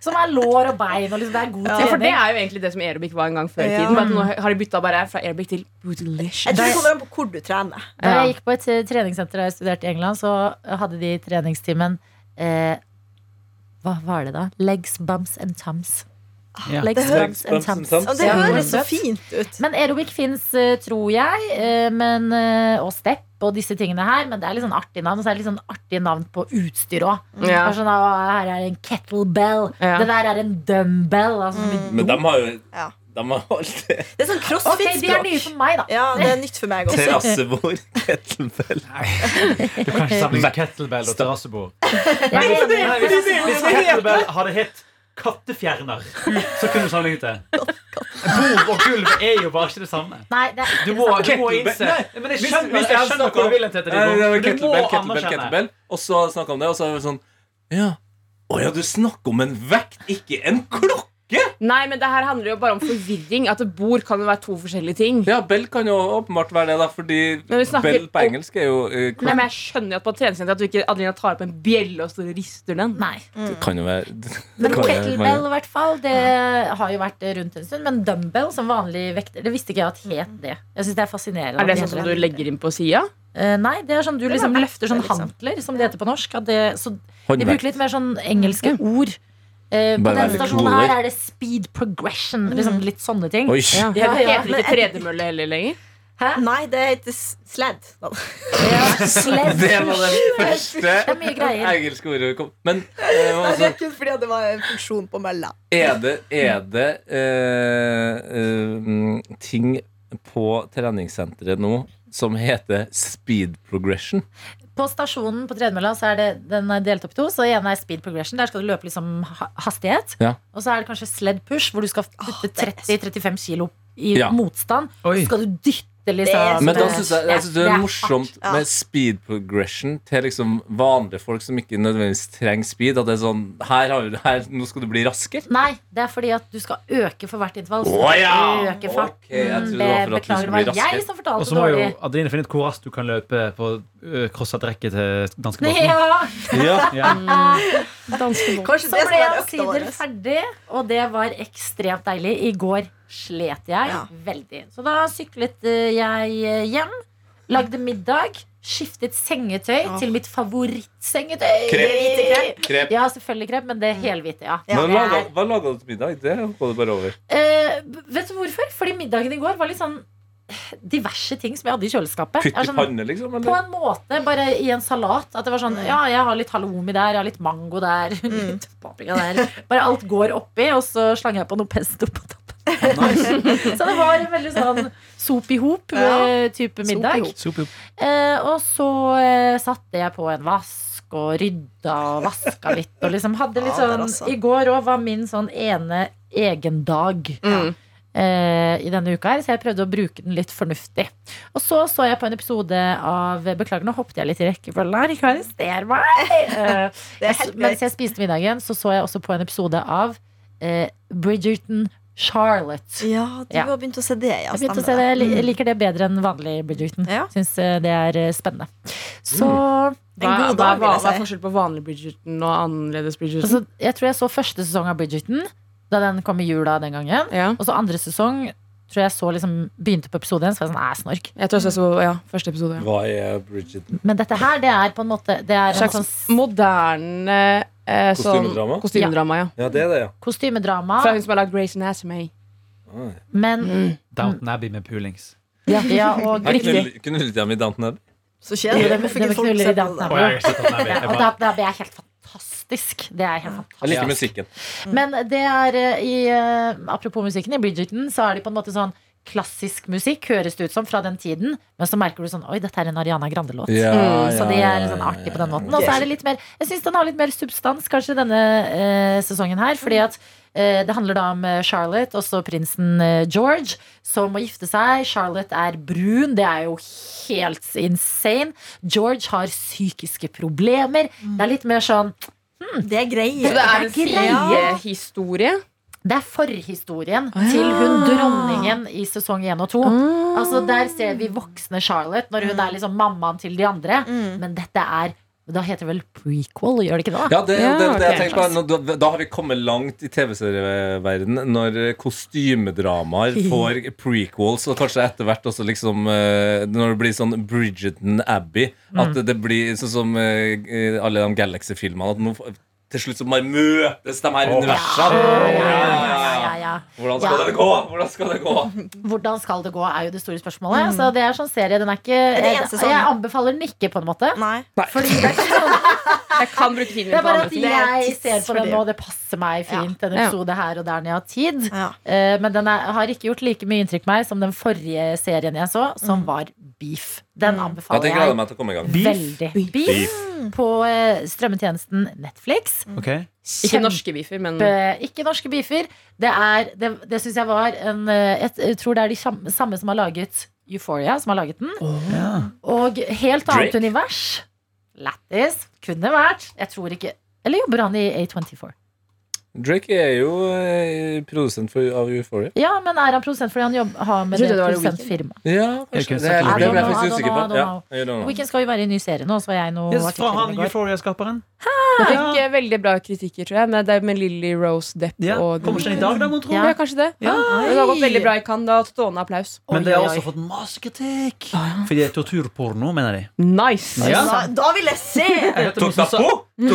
[SPEAKER 2] Som er lår og bein. Og liksom, det er god
[SPEAKER 4] Ja,
[SPEAKER 3] Ja,
[SPEAKER 2] trening.
[SPEAKER 3] for det er jo egentlig det som aerobic var en gang før i
[SPEAKER 4] Ja.
[SPEAKER 3] tiden. Bare at nå har de bytta bare fra aerobic til bootylicious.
[SPEAKER 4] Jeg tror det kommer an på hvor du trener.
[SPEAKER 2] Da
[SPEAKER 3] Ja.
[SPEAKER 2] jeg gikk på et eh, treningssenter da jeg studerte i England, så hadde de i treningstimen eh, Hva var det da? Legs, bumps and tums.
[SPEAKER 5] Ja.
[SPEAKER 2] Legs,
[SPEAKER 6] Legs,
[SPEAKER 2] bumps and
[SPEAKER 6] bumps and
[SPEAKER 2] tums.
[SPEAKER 6] tums.
[SPEAKER 4] Og det liksom-
[SPEAKER 2] Ja.
[SPEAKER 4] høres så fint ut.
[SPEAKER 2] Men aerobic fins, tror jeg, eh, men, eh, og step og disse tingene her. Men det er litt sånn artig navn, og så er det litt sånn artig navn på utstyr òg.
[SPEAKER 3] Ja.
[SPEAKER 2] Sånn, «Å, her er en kettlebell.
[SPEAKER 3] Ja.
[SPEAKER 2] Det der er en dumbbell. Altså,
[SPEAKER 6] Men de har jo
[SPEAKER 4] Ja.
[SPEAKER 6] de har alltid
[SPEAKER 4] Det er sånn
[SPEAKER 2] Ok, de er
[SPEAKER 4] crossfit-språk.
[SPEAKER 2] nye for meg, da.
[SPEAKER 4] Ja, det er nytt for meg også.
[SPEAKER 6] terrassebord, kettlebell
[SPEAKER 5] Du kan ikke sammenligne kettlebell og terrassebord.
[SPEAKER 2] Jeg er enig.
[SPEAKER 5] Hvis, hvis kettlebell hadde hett kattefjerner, så kunne du sammenlignet det. Bord og gulv er jo bare ikke det samme.
[SPEAKER 2] Nei, det er ikke
[SPEAKER 5] Du
[SPEAKER 2] det
[SPEAKER 5] må,
[SPEAKER 2] samme.
[SPEAKER 5] du må
[SPEAKER 6] Kettlebell.
[SPEAKER 5] innse
[SPEAKER 6] Nei,
[SPEAKER 5] Men jeg
[SPEAKER 6] Hvis-
[SPEAKER 5] skjønner,
[SPEAKER 6] hvis
[SPEAKER 5] jeg
[SPEAKER 6] jeg
[SPEAKER 5] skjønner
[SPEAKER 6] snakker
[SPEAKER 5] hvor
[SPEAKER 6] om-
[SPEAKER 5] du vil hen til det.
[SPEAKER 6] Nei, det var
[SPEAKER 5] Divo. Du må
[SPEAKER 6] kettlebell, kettlebell,
[SPEAKER 5] anerkjenne.
[SPEAKER 6] kettlebell. Og så snakka om det, og så er det sånn Ja. Å ja, du snakker om en vekt, ikke en klokke! ikke?
[SPEAKER 3] Nei, men det her handler jo bare om forvirring. At bord kan jo være to forskjellige ting.
[SPEAKER 6] Ja, Bell kan jo åpenbart være det, da, fordi
[SPEAKER 3] Men vi snakker
[SPEAKER 6] Bell på
[SPEAKER 3] om-
[SPEAKER 6] engelsk er jo eh,
[SPEAKER 3] Nei, men jeg skjønner jo at på et treningssenter at du ikke Adelina tar opp en bjelle og står og rister den.
[SPEAKER 2] Nei.
[SPEAKER 6] Det kan jo være det
[SPEAKER 2] Men
[SPEAKER 6] kan jo være-
[SPEAKER 2] kettlebell, i hvert fall. Det har jo vært rundt en stund. Men dumbbell som vanlig vekter, det visste ikke jeg at het det. Jeg synes det er fascinerende.
[SPEAKER 3] Er det
[SPEAKER 2] at
[SPEAKER 3] sånn som
[SPEAKER 2] heter
[SPEAKER 3] du legger inn på sida?
[SPEAKER 2] Eh, nei, det er sånn du liksom
[SPEAKER 3] var verdt
[SPEAKER 2] løfter sånn
[SPEAKER 3] det, liksom.
[SPEAKER 2] hantler, som det heter på norsk. At det, så de
[SPEAKER 6] Håndverk.
[SPEAKER 2] bruker litt mer sånn engelske ord. Eh, på
[SPEAKER 6] Bare
[SPEAKER 2] denne
[SPEAKER 6] være litt
[SPEAKER 2] stasjonen
[SPEAKER 6] coolere.
[SPEAKER 2] her er det speed progression. Liksom litt sånne ting.
[SPEAKER 6] Oi.
[SPEAKER 3] Ja.
[SPEAKER 4] Ja,
[SPEAKER 3] Heter
[SPEAKER 4] ja,
[SPEAKER 3] det ikke tredemølle heller lenger?
[SPEAKER 4] Nei, det heter s- sled.
[SPEAKER 2] Sled.
[SPEAKER 6] Det var det
[SPEAKER 2] Det
[SPEAKER 6] første
[SPEAKER 2] er mye greier.
[SPEAKER 6] engelske ordet kom. Men eh, altså,
[SPEAKER 4] kun fordi det var en funksjon på mella.
[SPEAKER 6] er det, er det eh, eh, ting på treningssenteret nå som heter speed progression?
[SPEAKER 2] På stasjonen på tredemølla så er det, den er delt opp i to. Så ene er speed progression. Der skal du løpe liksom ha- hastighet.
[SPEAKER 6] Ja.
[SPEAKER 2] Og så er det kanskje sled push, hvor du skal putte 30-35 kilo i
[SPEAKER 6] Ja.
[SPEAKER 2] motstand.
[SPEAKER 5] Oi.
[SPEAKER 2] Så skal du dytte
[SPEAKER 4] Det er så
[SPEAKER 2] liksom
[SPEAKER 6] Men da
[SPEAKER 4] det-
[SPEAKER 6] synes jeg, jeg synes det
[SPEAKER 2] det
[SPEAKER 6] er
[SPEAKER 2] er
[SPEAKER 6] morsomt
[SPEAKER 4] ja.
[SPEAKER 6] med speed progression til liksom vanlige folk som ikke nødvendigvis trenger speed. At det er sånn her, har, vi- her, Nå skal du bli raskere.
[SPEAKER 2] Nei, det er fordi at du skal øke for hvert intervall. Så
[SPEAKER 6] Å, ja!
[SPEAKER 2] Øke farten.
[SPEAKER 6] Ok, jeg trodde det var for at du
[SPEAKER 2] Beklager,
[SPEAKER 6] skulle bli
[SPEAKER 2] Mm, det var jeg
[SPEAKER 6] raskere.
[SPEAKER 2] som
[SPEAKER 5] Og
[SPEAKER 2] fortalte
[SPEAKER 5] så må jo
[SPEAKER 2] dårlig.
[SPEAKER 5] Adeline finne ut hvor raskt du kan løpe på uh, crosset rekke til danskebåten.
[SPEAKER 2] Ja, Mm.
[SPEAKER 5] Ja, ja.
[SPEAKER 4] Kanskje
[SPEAKER 2] så
[SPEAKER 4] det
[SPEAKER 2] ble jeg
[SPEAKER 4] som er sånn økta
[SPEAKER 2] omsider
[SPEAKER 4] vår.
[SPEAKER 2] ferdig, og det var ekstremt deilig. I går slet jeg
[SPEAKER 4] Ja.
[SPEAKER 2] veldig. Så da syklet eh, jeg eh, hjem, lagde middag, skiftet sengetøy
[SPEAKER 4] Åh.
[SPEAKER 2] til mitt favorittsengetøy.
[SPEAKER 6] Krepp.
[SPEAKER 4] Hvite krepp.
[SPEAKER 6] Krep.
[SPEAKER 2] Ja, selvfølgelig krepp, men det helhvite, ja.
[SPEAKER 6] Hva
[SPEAKER 4] Mm. Ja.
[SPEAKER 6] laga- hva laga du til middag? Det går du bare over.
[SPEAKER 2] Eh, b- vet du hvorfor? Fordi middagen i går var litt sånn diverse ting som jeg hadde i kjøleskapet.
[SPEAKER 6] Putt
[SPEAKER 2] Jeg er
[SPEAKER 6] i
[SPEAKER 2] sånn-
[SPEAKER 6] panne, liksom?
[SPEAKER 2] På
[SPEAKER 6] Eller?
[SPEAKER 2] en måte, bare i en salat. At det var sånn, ja, jeg har litt halloumi der, jeg har litt mango der, litt paprika der. Bare alt går oppi, og så slang jeg på noe pesto på toppen. så det var en veldig sånn sop i hop-type middag.
[SPEAKER 5] Sop, sop.
[SPEAKER 2] Eh, og så eh, satte jeg på en vask og rydda og vaska litt. Og liksom hadde litt
[SPEAKER 4] Ja,
[SPEAKER 2] sånn
[SPEAKER 4] der altså.
[SPEAKER 2] I går òg var min sånn ene egen dag.
[SPEAKER 3] Mm.
[SPEAKER 2] eh, I denne uka her, så jeg prøvde å bruke den litt fornuftig. Og så så jeg på en episode av Beklager, nå hoppet jeg litt i rekkefølgen her. Ikke arrester meg! Eh,
[SPEAKER 4] Det er
[SPEAKER 2] jeg,
[SPEAKER 4] helt
[SPEAKER 2] mens
[SPEAKER 4] greit.
[SPEAKER 2] jeg spiste middagen, så så jeg også på en episode av eh, Bridgerton Charlotte.
[SPEAKER 4] Ja, du
[SPEAKER 2] Ja.
[SPEAKER 4] har begynt å se det, ja.
[SPEAKER 2] Jeg begynte å se
[SPEAKER 4] stemmer Mm.
[SPEAKER 2] det, jeg li- jeg liker det bedre enn vanlig Bridgerton.
[SPEAKER 4] Ja.
[SPEAKER 2] Synes eh, det er eh, spennende. Så
[SPEAKER 3] Hva,
[SPEAKER 4] En
[SPEAKER 3] hva,
[SPEAKER 4] god dag, vil
[SPEAKER 3] hva, hva
[SPEAKER 4] jeg
[SPEAKER 3] er
[SPEAKER 4] si.
[SPEAKER 3] forskjellen på vanlig Bridgerton og annerledes Bridgerton?
[SPEAKER 2] altså, Jeg tror jeg så første sesong av Bridgerton, da den kom i jula den gangen.
[SPEAKER 3] Ja.
[SPEAKER 2] Og så andre sesong tror jeg så liksom begynte på episode én, så var jeg sånn æ, snork.
[SPEAKER 3] Jeg tror også jeg så ja, første episode. Ja.
[SPEAKER 6] Hva er Bridget?
[SPEAKER 2] Men dette her, det er på en måte Det er en sånn
[SPEAKER 3] Slags moderne eh, sånn,
[SPEAKER 6] Kostymedrama?
[SPEAKER 3] kostymedrama. Ja.
[SPEAKER 6] Ja, det er det, ja.
[SPEAKER 2] kostymedrama,
[SPEAKER 3] Fra Mm. hun som har lagd Grace Anatomy.
[SPEAKER 2] men
[SPEAKER 5] Downton Abbey med poolings.
[SPEAKER 2] ja, og
[SPEAKER 6] Jeg
[SPEAKER 2] riktig.
[SPEAKER 6] knull- knullet jeg med i Downton Abbey?
[SPEAKER 4] Så
[SPEAKER 2] Det
[SPEAKER 4] kjedelig.
[SPEAKER 2] var-
[SPEAKER 4] Hvorfor
[SPEAKER 2] det var
[SPEAKER 4] ikke folk
[SPEAKER 2] knuller i
[SPEAKER 4] ser på
[SPEAKER 2] Downton
[SPEAKER 4] det?
[SPEAKER 2] Abbey.
[SPEAKER 5] Å, jeg har ikke sett Downton Abbey. Jeg
[SPEAKER 2] Og
[SPEAKER 5] bare-
[SPEAKER 2] da, da blir jeg helt fantastisk. Det er helt fantastisk.
[SPEAKER 6] Jeg liker
[SPEAKER 5] Ja.
[SPEAKER 6] musikken.
[SPEAKER 3] Mm.
[SPEAKER 2] Men det er eh, i eh, Apropos musikken, i Bridgerton så er det på en måte sånn klassisk musikk, høres det ut som, fra den tiden. Men så merker du sånn Oi, dette er en Ariana Grande-låt. Så det er litt sånn artig på den måten. Og så er det litt mer Jeg syns den har litt mer substans, kanskje, denne eh, sesongen her. Fordi at eh, det handler da om eh, Charlotte, også prinsen eh, George, som må gifte seg. Charlotte er brun, det er jo helt insane. George har psykiske problemer. Det er litt mer sånn
[SPEAKER 4] Det
[SPEAKER 3] Så
[SPEAKER 4] er
[SPEAKER 3] det
[SPEAKER 4] greier.
[SPEAKER 3] er
[SPEAKER 2] Det er
[SPEAKER 3] en
[SPEAKER 2] greie.
[SPEAKER 3] sidehistorie.
[SPEAKER 2] Det er forhistorien til hun dronningen i sesong 1 og 2.
[SPEAKER 3] Mm.
[SPEAKER 2] Altså Der ser vi voksne Charlotte når hun er liksom mammaen til de andre. Men dette er Da heter det vel prequel, gjør det ikke det?
[SPEAKER 6] Ja, det,
[SPEAKER 3] Ja,
[SPEAKER 6] det, det, jeg
[SPEAKER 3] ok.
[SPEAKER 6] tenker på, nå- da, da har vi kommet langt i TV-serieverdenen når kostymedramaer får prequels, og kanskje etter hvert også liksom eh, Når det blir sånn Bridgerton Abbey,
[SPEAKER 3] Mm.
[SPEAKER 6] at det blir sånn som eh, eh, alle de Galaxy-filmene. At nå, f- til slutt så bare møtes de her universene.
[SPEAKER 2] ja, ja, ja.
[SPEAKER 6] Hvordan skal
[SPEAKER 2] Ja.
[SPEAKER 6] det gå? Hvordan skal det gå?
[SPEAKER 2] Hvordan skal det gå, er jo det store spørsmålet.
[SPEAKER 6] Mm.
[SPEAKER 2] Så det er sånn serie. Den er ikke
[SPEAKER 4] det en sesong?
[SPEAKER 2] Jeg anbefaler den ikke, på en måte.
[SPEAKER 4] Nei.
[SPEAKER 2] Fordi det er ikke sånn
[SPEAKER 3] Jeg kan bruke tiden
[SPEAKER 2] Det
[SPEAKER 3] min
[SPEAKER 2] er
[SPEAKER 3] på
[SPEAKER 2] bare
[SPEAKER 3] andre
[SPEAKER 2] at
[SPEAKER 3] ting.
[SPEAKER 4] Det er
[SPEAKER 2] jeg ser på den
[SPEAKER 4] tidsfordriv.
[SPEAKER 2] nå, det passer meg fint. En
[SPEAKER 3] Ja.
[SPEAKER 2] episode her og der når jeg har tid.
[SPEAKER 4] Ja.
[SPEAKER 2] Eh, Men den er, har ikke gjort like mye inntrykk på meg som den forrige serien jeg så, som var Beef. Den
[SPEAKER 6] Mm. Ja,
[SPEAKER 2] anbefaler
[SPEAKER 6] det gleder jeg
[SPEAKER 2] jeg
[SPEAKER 6] meg til å komme i gang.
[SPEAKER 2] veldig. Beef, på eh, strømmetjenesten Netflix.
[SPEAKER 5] Ok.
[SPEAKER 3] Ikke norske beefer, men
[SPEAKER 2] Eh, Ikke norske beefer. Det, er- det, det syns jeg var en eh, et, Jeg tror det er de sam- samme som har laget Euphoria, som har laget den. Og helt annet
[SPEAKER 6] Drake.
[SPEAKER 2] univers. Lættis. Kunne vært. Jeg tror ikke Eller jobber han i A24?
[SPEAKER 6] Drake er jo eh, produsent for, av Euphoria.
[SPEAKER 2] Ja, men er han produsent fordi han jobb, har med
[SPEAKER 3] Jeg trodde
[SPEAKER 2] det
[SPEAKER 3] det var The
[SPEAKER 2] produsentfirmaet?
[SPEAKER 6] Ja,
[SPEAKER 5] Jeg
[SPEAKER 6] kanskje.
[SPEAKER 5] kunne
[SPEAKER 6] Det er
[SPEAKER 5] sagt
[SPEAKER 6] litt-
[SPEAKER 5] det.
[SPEAKER 6] det ble jeg
[SPEAKER 2] I don't
[SPEAKER 6] faktisk
[SPEAKER 2] know,
[SPEAKER 6] usikker
[SPEAKER 2] I
[SPEAKER 6] på.
[SPEAKER 2] don't
[SPEAKER 6] Ja,
[SPEAKER 2] know.
[SPEAKER 6] I don't know.
[SPEAKER 2] Weekend skal jo være i en ny serie nå, så jeg noe
[SPEAKER 5] Yes, fra
[SPEAKER 2] artikler
[SPEAKER 5] han
[SPEAKER 2] i går.
[SPEAKER 5] Euphoria-skaperen.
[SPEAKER 3] Det
[SPEAKER 5] Ja.
[SPEAKER 3] fikk eh, veldig bra kritikker, tror jeg. Med, det med Lily Rose Depp
[SPEAKER 5] Ja.
[SPEAKER 3] og
[SPEAKER 5] Kommer ikke den i dag, da, mon tro?
[SPEAKER 3] Ja, kanskje det. Ah,
[SPEAKER 5] Ja.
[SPEAKER 3] Det har gått veldig bra i Cannes. Det har hatt stående applaus.
[SPEAKER 5] Men det har
[SPEAKER 2] Oi, oi, oi.
[SPEAKER 5] også fått masse kritikk. Fordi det er torturporno, mener de.
[SPEAKER 3] Nice!
[SPEAKER 5] Ja.
[SPEAKER 4] Da, da vil jeg se!
[SPEAKER 5] Jeg hørte noen som sa-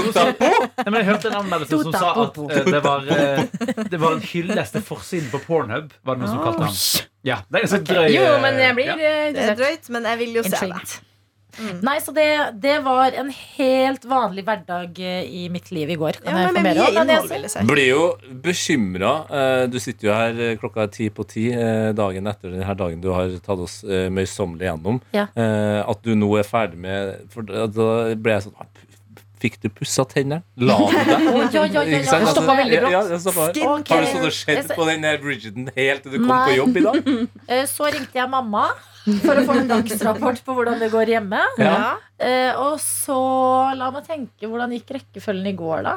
[SPEAKER 5] Nei, men jeg hørte en anmeldelse som sa at eh, det var, eh, det var en hyllest til forsiden på Pornhub. Var det noen som kalte den? Ja, det er en sånn drøy
[SPEAKER 3] Jo,
[SPEAKER 5] eh,
[SPEAKER 3] men jeg blir
[SPEAKER 5] ja.
[SPEAKER 3] eh,
[SPEAKER 4] Det er
[SPEAKER 3] interessert.
[SPEAKER 4] drøyt, men jeg vil jo se det.
[SPEAKER 2] Intrigued. Mm. Nei, så det, det var en helt vanlig hverdag eh, i mitt liv i går. Kan
[SPEAKER 4] Ja, men
[SPEAKER 2] jeg informere
[SPEAKER 4] med mye
[SPEAKER 2] om den
[SPEAKER 4] innhold,
[SPEAKER 2] jeg
[SPEAKER 4] vil
[SPEAKER 2] ser?
[SPEAKER 4] jeg si.
[SPEAKER 6] Blir jo bekymra. Du sitter jo her eh, klokka er ti på ti eh, dagen etter denne dagen du har tatt oss eh, møysommelig gjennom.
[SPEAKER 2] Ja.
[SPEAKER 6] Eh, At du nå er ferdig med For da da ble jeg sånn ah, p- Fikk du pussa tennene? La du deg?
[SPEAKER 2] ja, ja, ja, ja.
[SPEAKER 6] Ikke sant?
[SPEAKER 2] Det
[SPEAKER 6] Altså,
[SPEAKER 2] stoppet veldig
[SPEAKER 6] ja,
[SPEAKER 2] brått.
[SPEAKER 6] ja, det stoppet.
[SPEAKER 4] Skin
[SPEAKER 2] Ok.
[SPEAKER 6] Har du stått og
[SPEAKER 2] Jeg
[SPEAKER 6] sett
[SPEAKER 2] ser-
[SPEAKER 6] på den der Bridgerton helt til du kom
[SPEAKER 2] Nei.
[SPEAKER 6] på jobb i dag?
[SPEAKER 2] Eh, Så ringte jeg mamma for å få en dagsrapport på hvordan det går hjemme.
[SPEAKER 4] Ja.
[SPEAKER 2] Eh, Og så la meg tenke hvordan gikk rekkefølgen i går, da.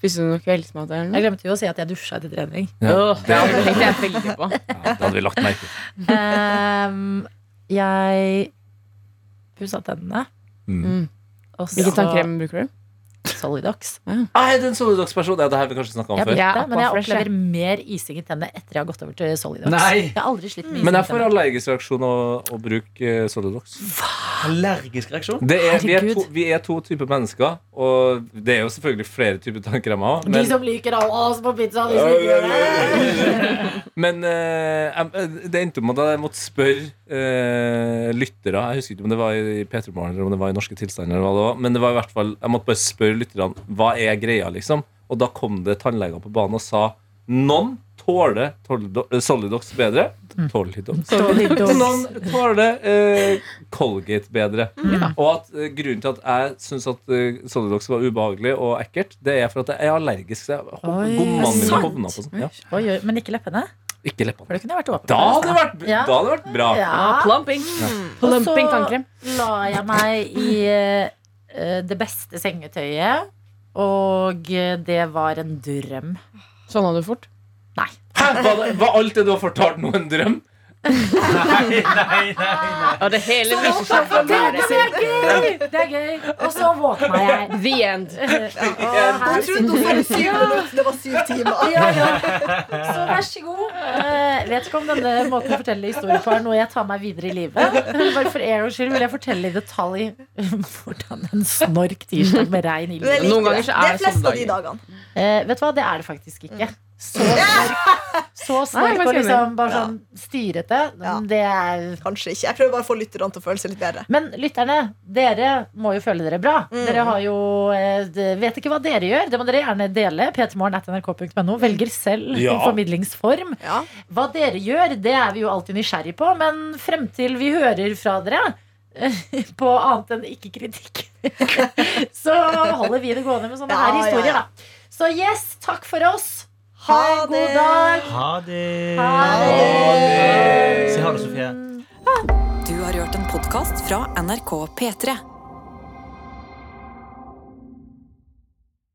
[SPEAKER 3] Spiste du noe kveldsmat? eller noe?
[SPEAKER 2] Jeg glemte jo å si at jeg dusja etter trening.
[SPEAKER 6] Ja,
[SPEAKER 3] Åh,
[SPEAKER 6] det,
[SPEAKER 3] ja, det tenkte jeg veldig på.
[SPEAKER 6] ja, det hadde vi lagt merke til.
[SPEAKER 2] Ehm, jeg pussa tennene.
[SPEAKER 6] Mm.
[SPEAKER 2] Og så
[SPEAKER 3] Hvilken tannkrem bruker du?
[SPEAKER 2] Solidox.
[SPEAKER 6] Ah, er det en solidagsperson? Ja, det her har vi kanskje snakka om
[SPEAKER 2] Jeg
[SPEAKER 6] før.
[SPEAKER 2] vet
[SPEAKER 3] Ja,
[SPEAKER 2] det, men jeg
[SPEAKER 3] Aquafresh, ja.
[SPEAKER 2] opplever mer ising i tennene etter jeg har gått over til Solidox.
[SPEAKER 5] Nei.
[SPEAKER 2] Jeg har aldri slitt med ising
[SPEAKER 6] Men
[SPEAKER 2] i
[SPEAKER 6] jeg får
[SPEAKER 2] tennene.
[SPEAKER 6] allergisk reaksjon av å bruke eh, Solidox.
[SPEAKER 5] Allergisk reaksjon?
[SPEAKER 6] Det er, vi, er
[SPEAKER 2] Herregud.
[SPEAKER 6] to, vi er to typer mennesker, og det er jo selvfølgelig flere typer tannkremer òg.
[SPEAKER 2] De
[SPEAKER 6] Men,
[SPEAKER 2] som liker Allas på pizza, de som ikke gjør det.
[SPEAKER 6] men eh, jeg- det endte opp med at jeg måtte spørre eh, lyttere Jeg husker ikke om det var i P3 Morgen eller om det var i Norske tilstander. Eller hva det var, men det var i hvert fall, jeg måtte bare spørre lytterne hva er greia, liksom. Og da kom det tannleger på banen og sa noen tåler Tolido- eh, Solidox bedre.
[SPEAKER 2] Mm.
[SPEAKER 6] Tolidox. Noen tåler eh, Colgate bedre.
[SPEAKER 2] Mm.
[SPEAKER 6] Og at eh, grunnen til at jeg syns at eh, Solidox var ubehagelig og ekkelt, det er for at jeg er allergisk. Så jeg hov-
[SPEAKER 2] Oi.
[SPEAKER 6] gommene
[SPEAKER 2] Er det
[SPEAKER 6] mine
[SPEAKER 2] sant?
[SPEAKER 6] hovna på sånn. Ja.
[SPEAKER 2] Oi, oi, men ikke leppene?
[SPEAKER 6] Ikke
[SPEAKER 2] For
[SPEAKER 6] leppene.
[SPEAKER 2] det kunne jeg vært åpen
[SPEAKER 6] Da hadde det vært,
[SPEAKER 2] Ja.
[SPEAKER 6] da hadde det vært bra.
[SPEAKER 3] Ah,
[SPEAKER 2] Ja.
[SPEAKER 3] plumping. Plumping tannkrem.
[SPEAKER 2] la jeg meg i eh, det beste sengetøyet, og eh, det var en drøm.
[SPEAKER 3] Sånn hadde du fort.
[SPEAKER 2] Nei.
[SPEAKER 6] Hæ, var, det, var alt det du har fortalt nå, en drøm?
[SPEAKER 5] Nei, nei, nei.
[SPEAKER 3] Og det hele viste seg
[SPEAKER 2] Det, er gøy! Det er gøy. Og så våkna jeg.
[SPEAKER 3] The end.
[SPEAKER 2] Å,
[SPEAKER 4] Hun
[SPEAKER 2] her
[SPEAKER 4] trodde hun skulle syv minutter, det var syv timer.
[SPEAKER 2] Ja, ja. Så vær så god. Eh, vet ikke om denne måten å fortelle historier på er noe jeg tar meg videre i livet. Bare for Aeros skyld vil jeg fortelle i detalj hvordan en snork tirsdag med regn
[SPEAKER 4] Men jeg
[SPEAKER 2] ilder.
[SPEAKER 4] likte
[SPEAKER 3] Noen ganger
[SPEAKER 4] det.
[SPEAKER 3] så er
[SPEAKER 4] Det er
[SPEAKER 3] det sånn
[SPEAKER 4] flest
[SPEAKER 3] sånne
[SPEAKER 4] av de dagene.
[SPEAKER 2] Eh, vet du hva, det er det faktisk ikke. Så snork, så
[SPEAKER 3] Mm. Nei,
[SPEAKER 2] snork
[SPEAKER 3] jeg
[SPEAKER 2] og
[SPEAKER 3] skjønner.
[SPEAKER 2] liksom bare sånn styrete,
[SPEAKER 4] Ja.
[SPEAKER 2] det er
[SPEAKER 4] Kanskje ikke. Jeg prøver bare å få lytterne til å føle seg litt bedre.
[SPEAKER 2] men lytterne, dere må jo føle dere bra.
[SPEAKER 4] Mm.
[SPEAKER 2] Dere har jo eh, de- Vet ikke hva dere gjør. Det må dere gjerne dele. p3morgen.nrk.no. Velger selv
[SPEAKER 6] Ja.
[SPEAKER 2] formidlingsform.
[SPEAKER 4] Ja.
[SPEAKER 2] Hva dere gjør, det er vi jo alltid nysgjerrig på, men frem til vi hører fra dere på annet enn ikke kritikk, så holder vi det gående med sånne her
[SPEAKER 4] Ja, ja,
[SPEAKER 2] historier,
[SPEAKER 4] ja.
[SPEAKER 2] da. Så yes, takk for oss. Ha
[SPEAKER 4] Ha
[SPEAKER 2] en
[SPEAKER 4] det.
[SPEAKER 2] god dag.
[SPEAKER 5] Ha det.
[SPEAKER 2] det.
[SPEAKER 5] Si ha det, Sofie.
[SPEAKER 1] Du har hørt en podkast fra NRK P3.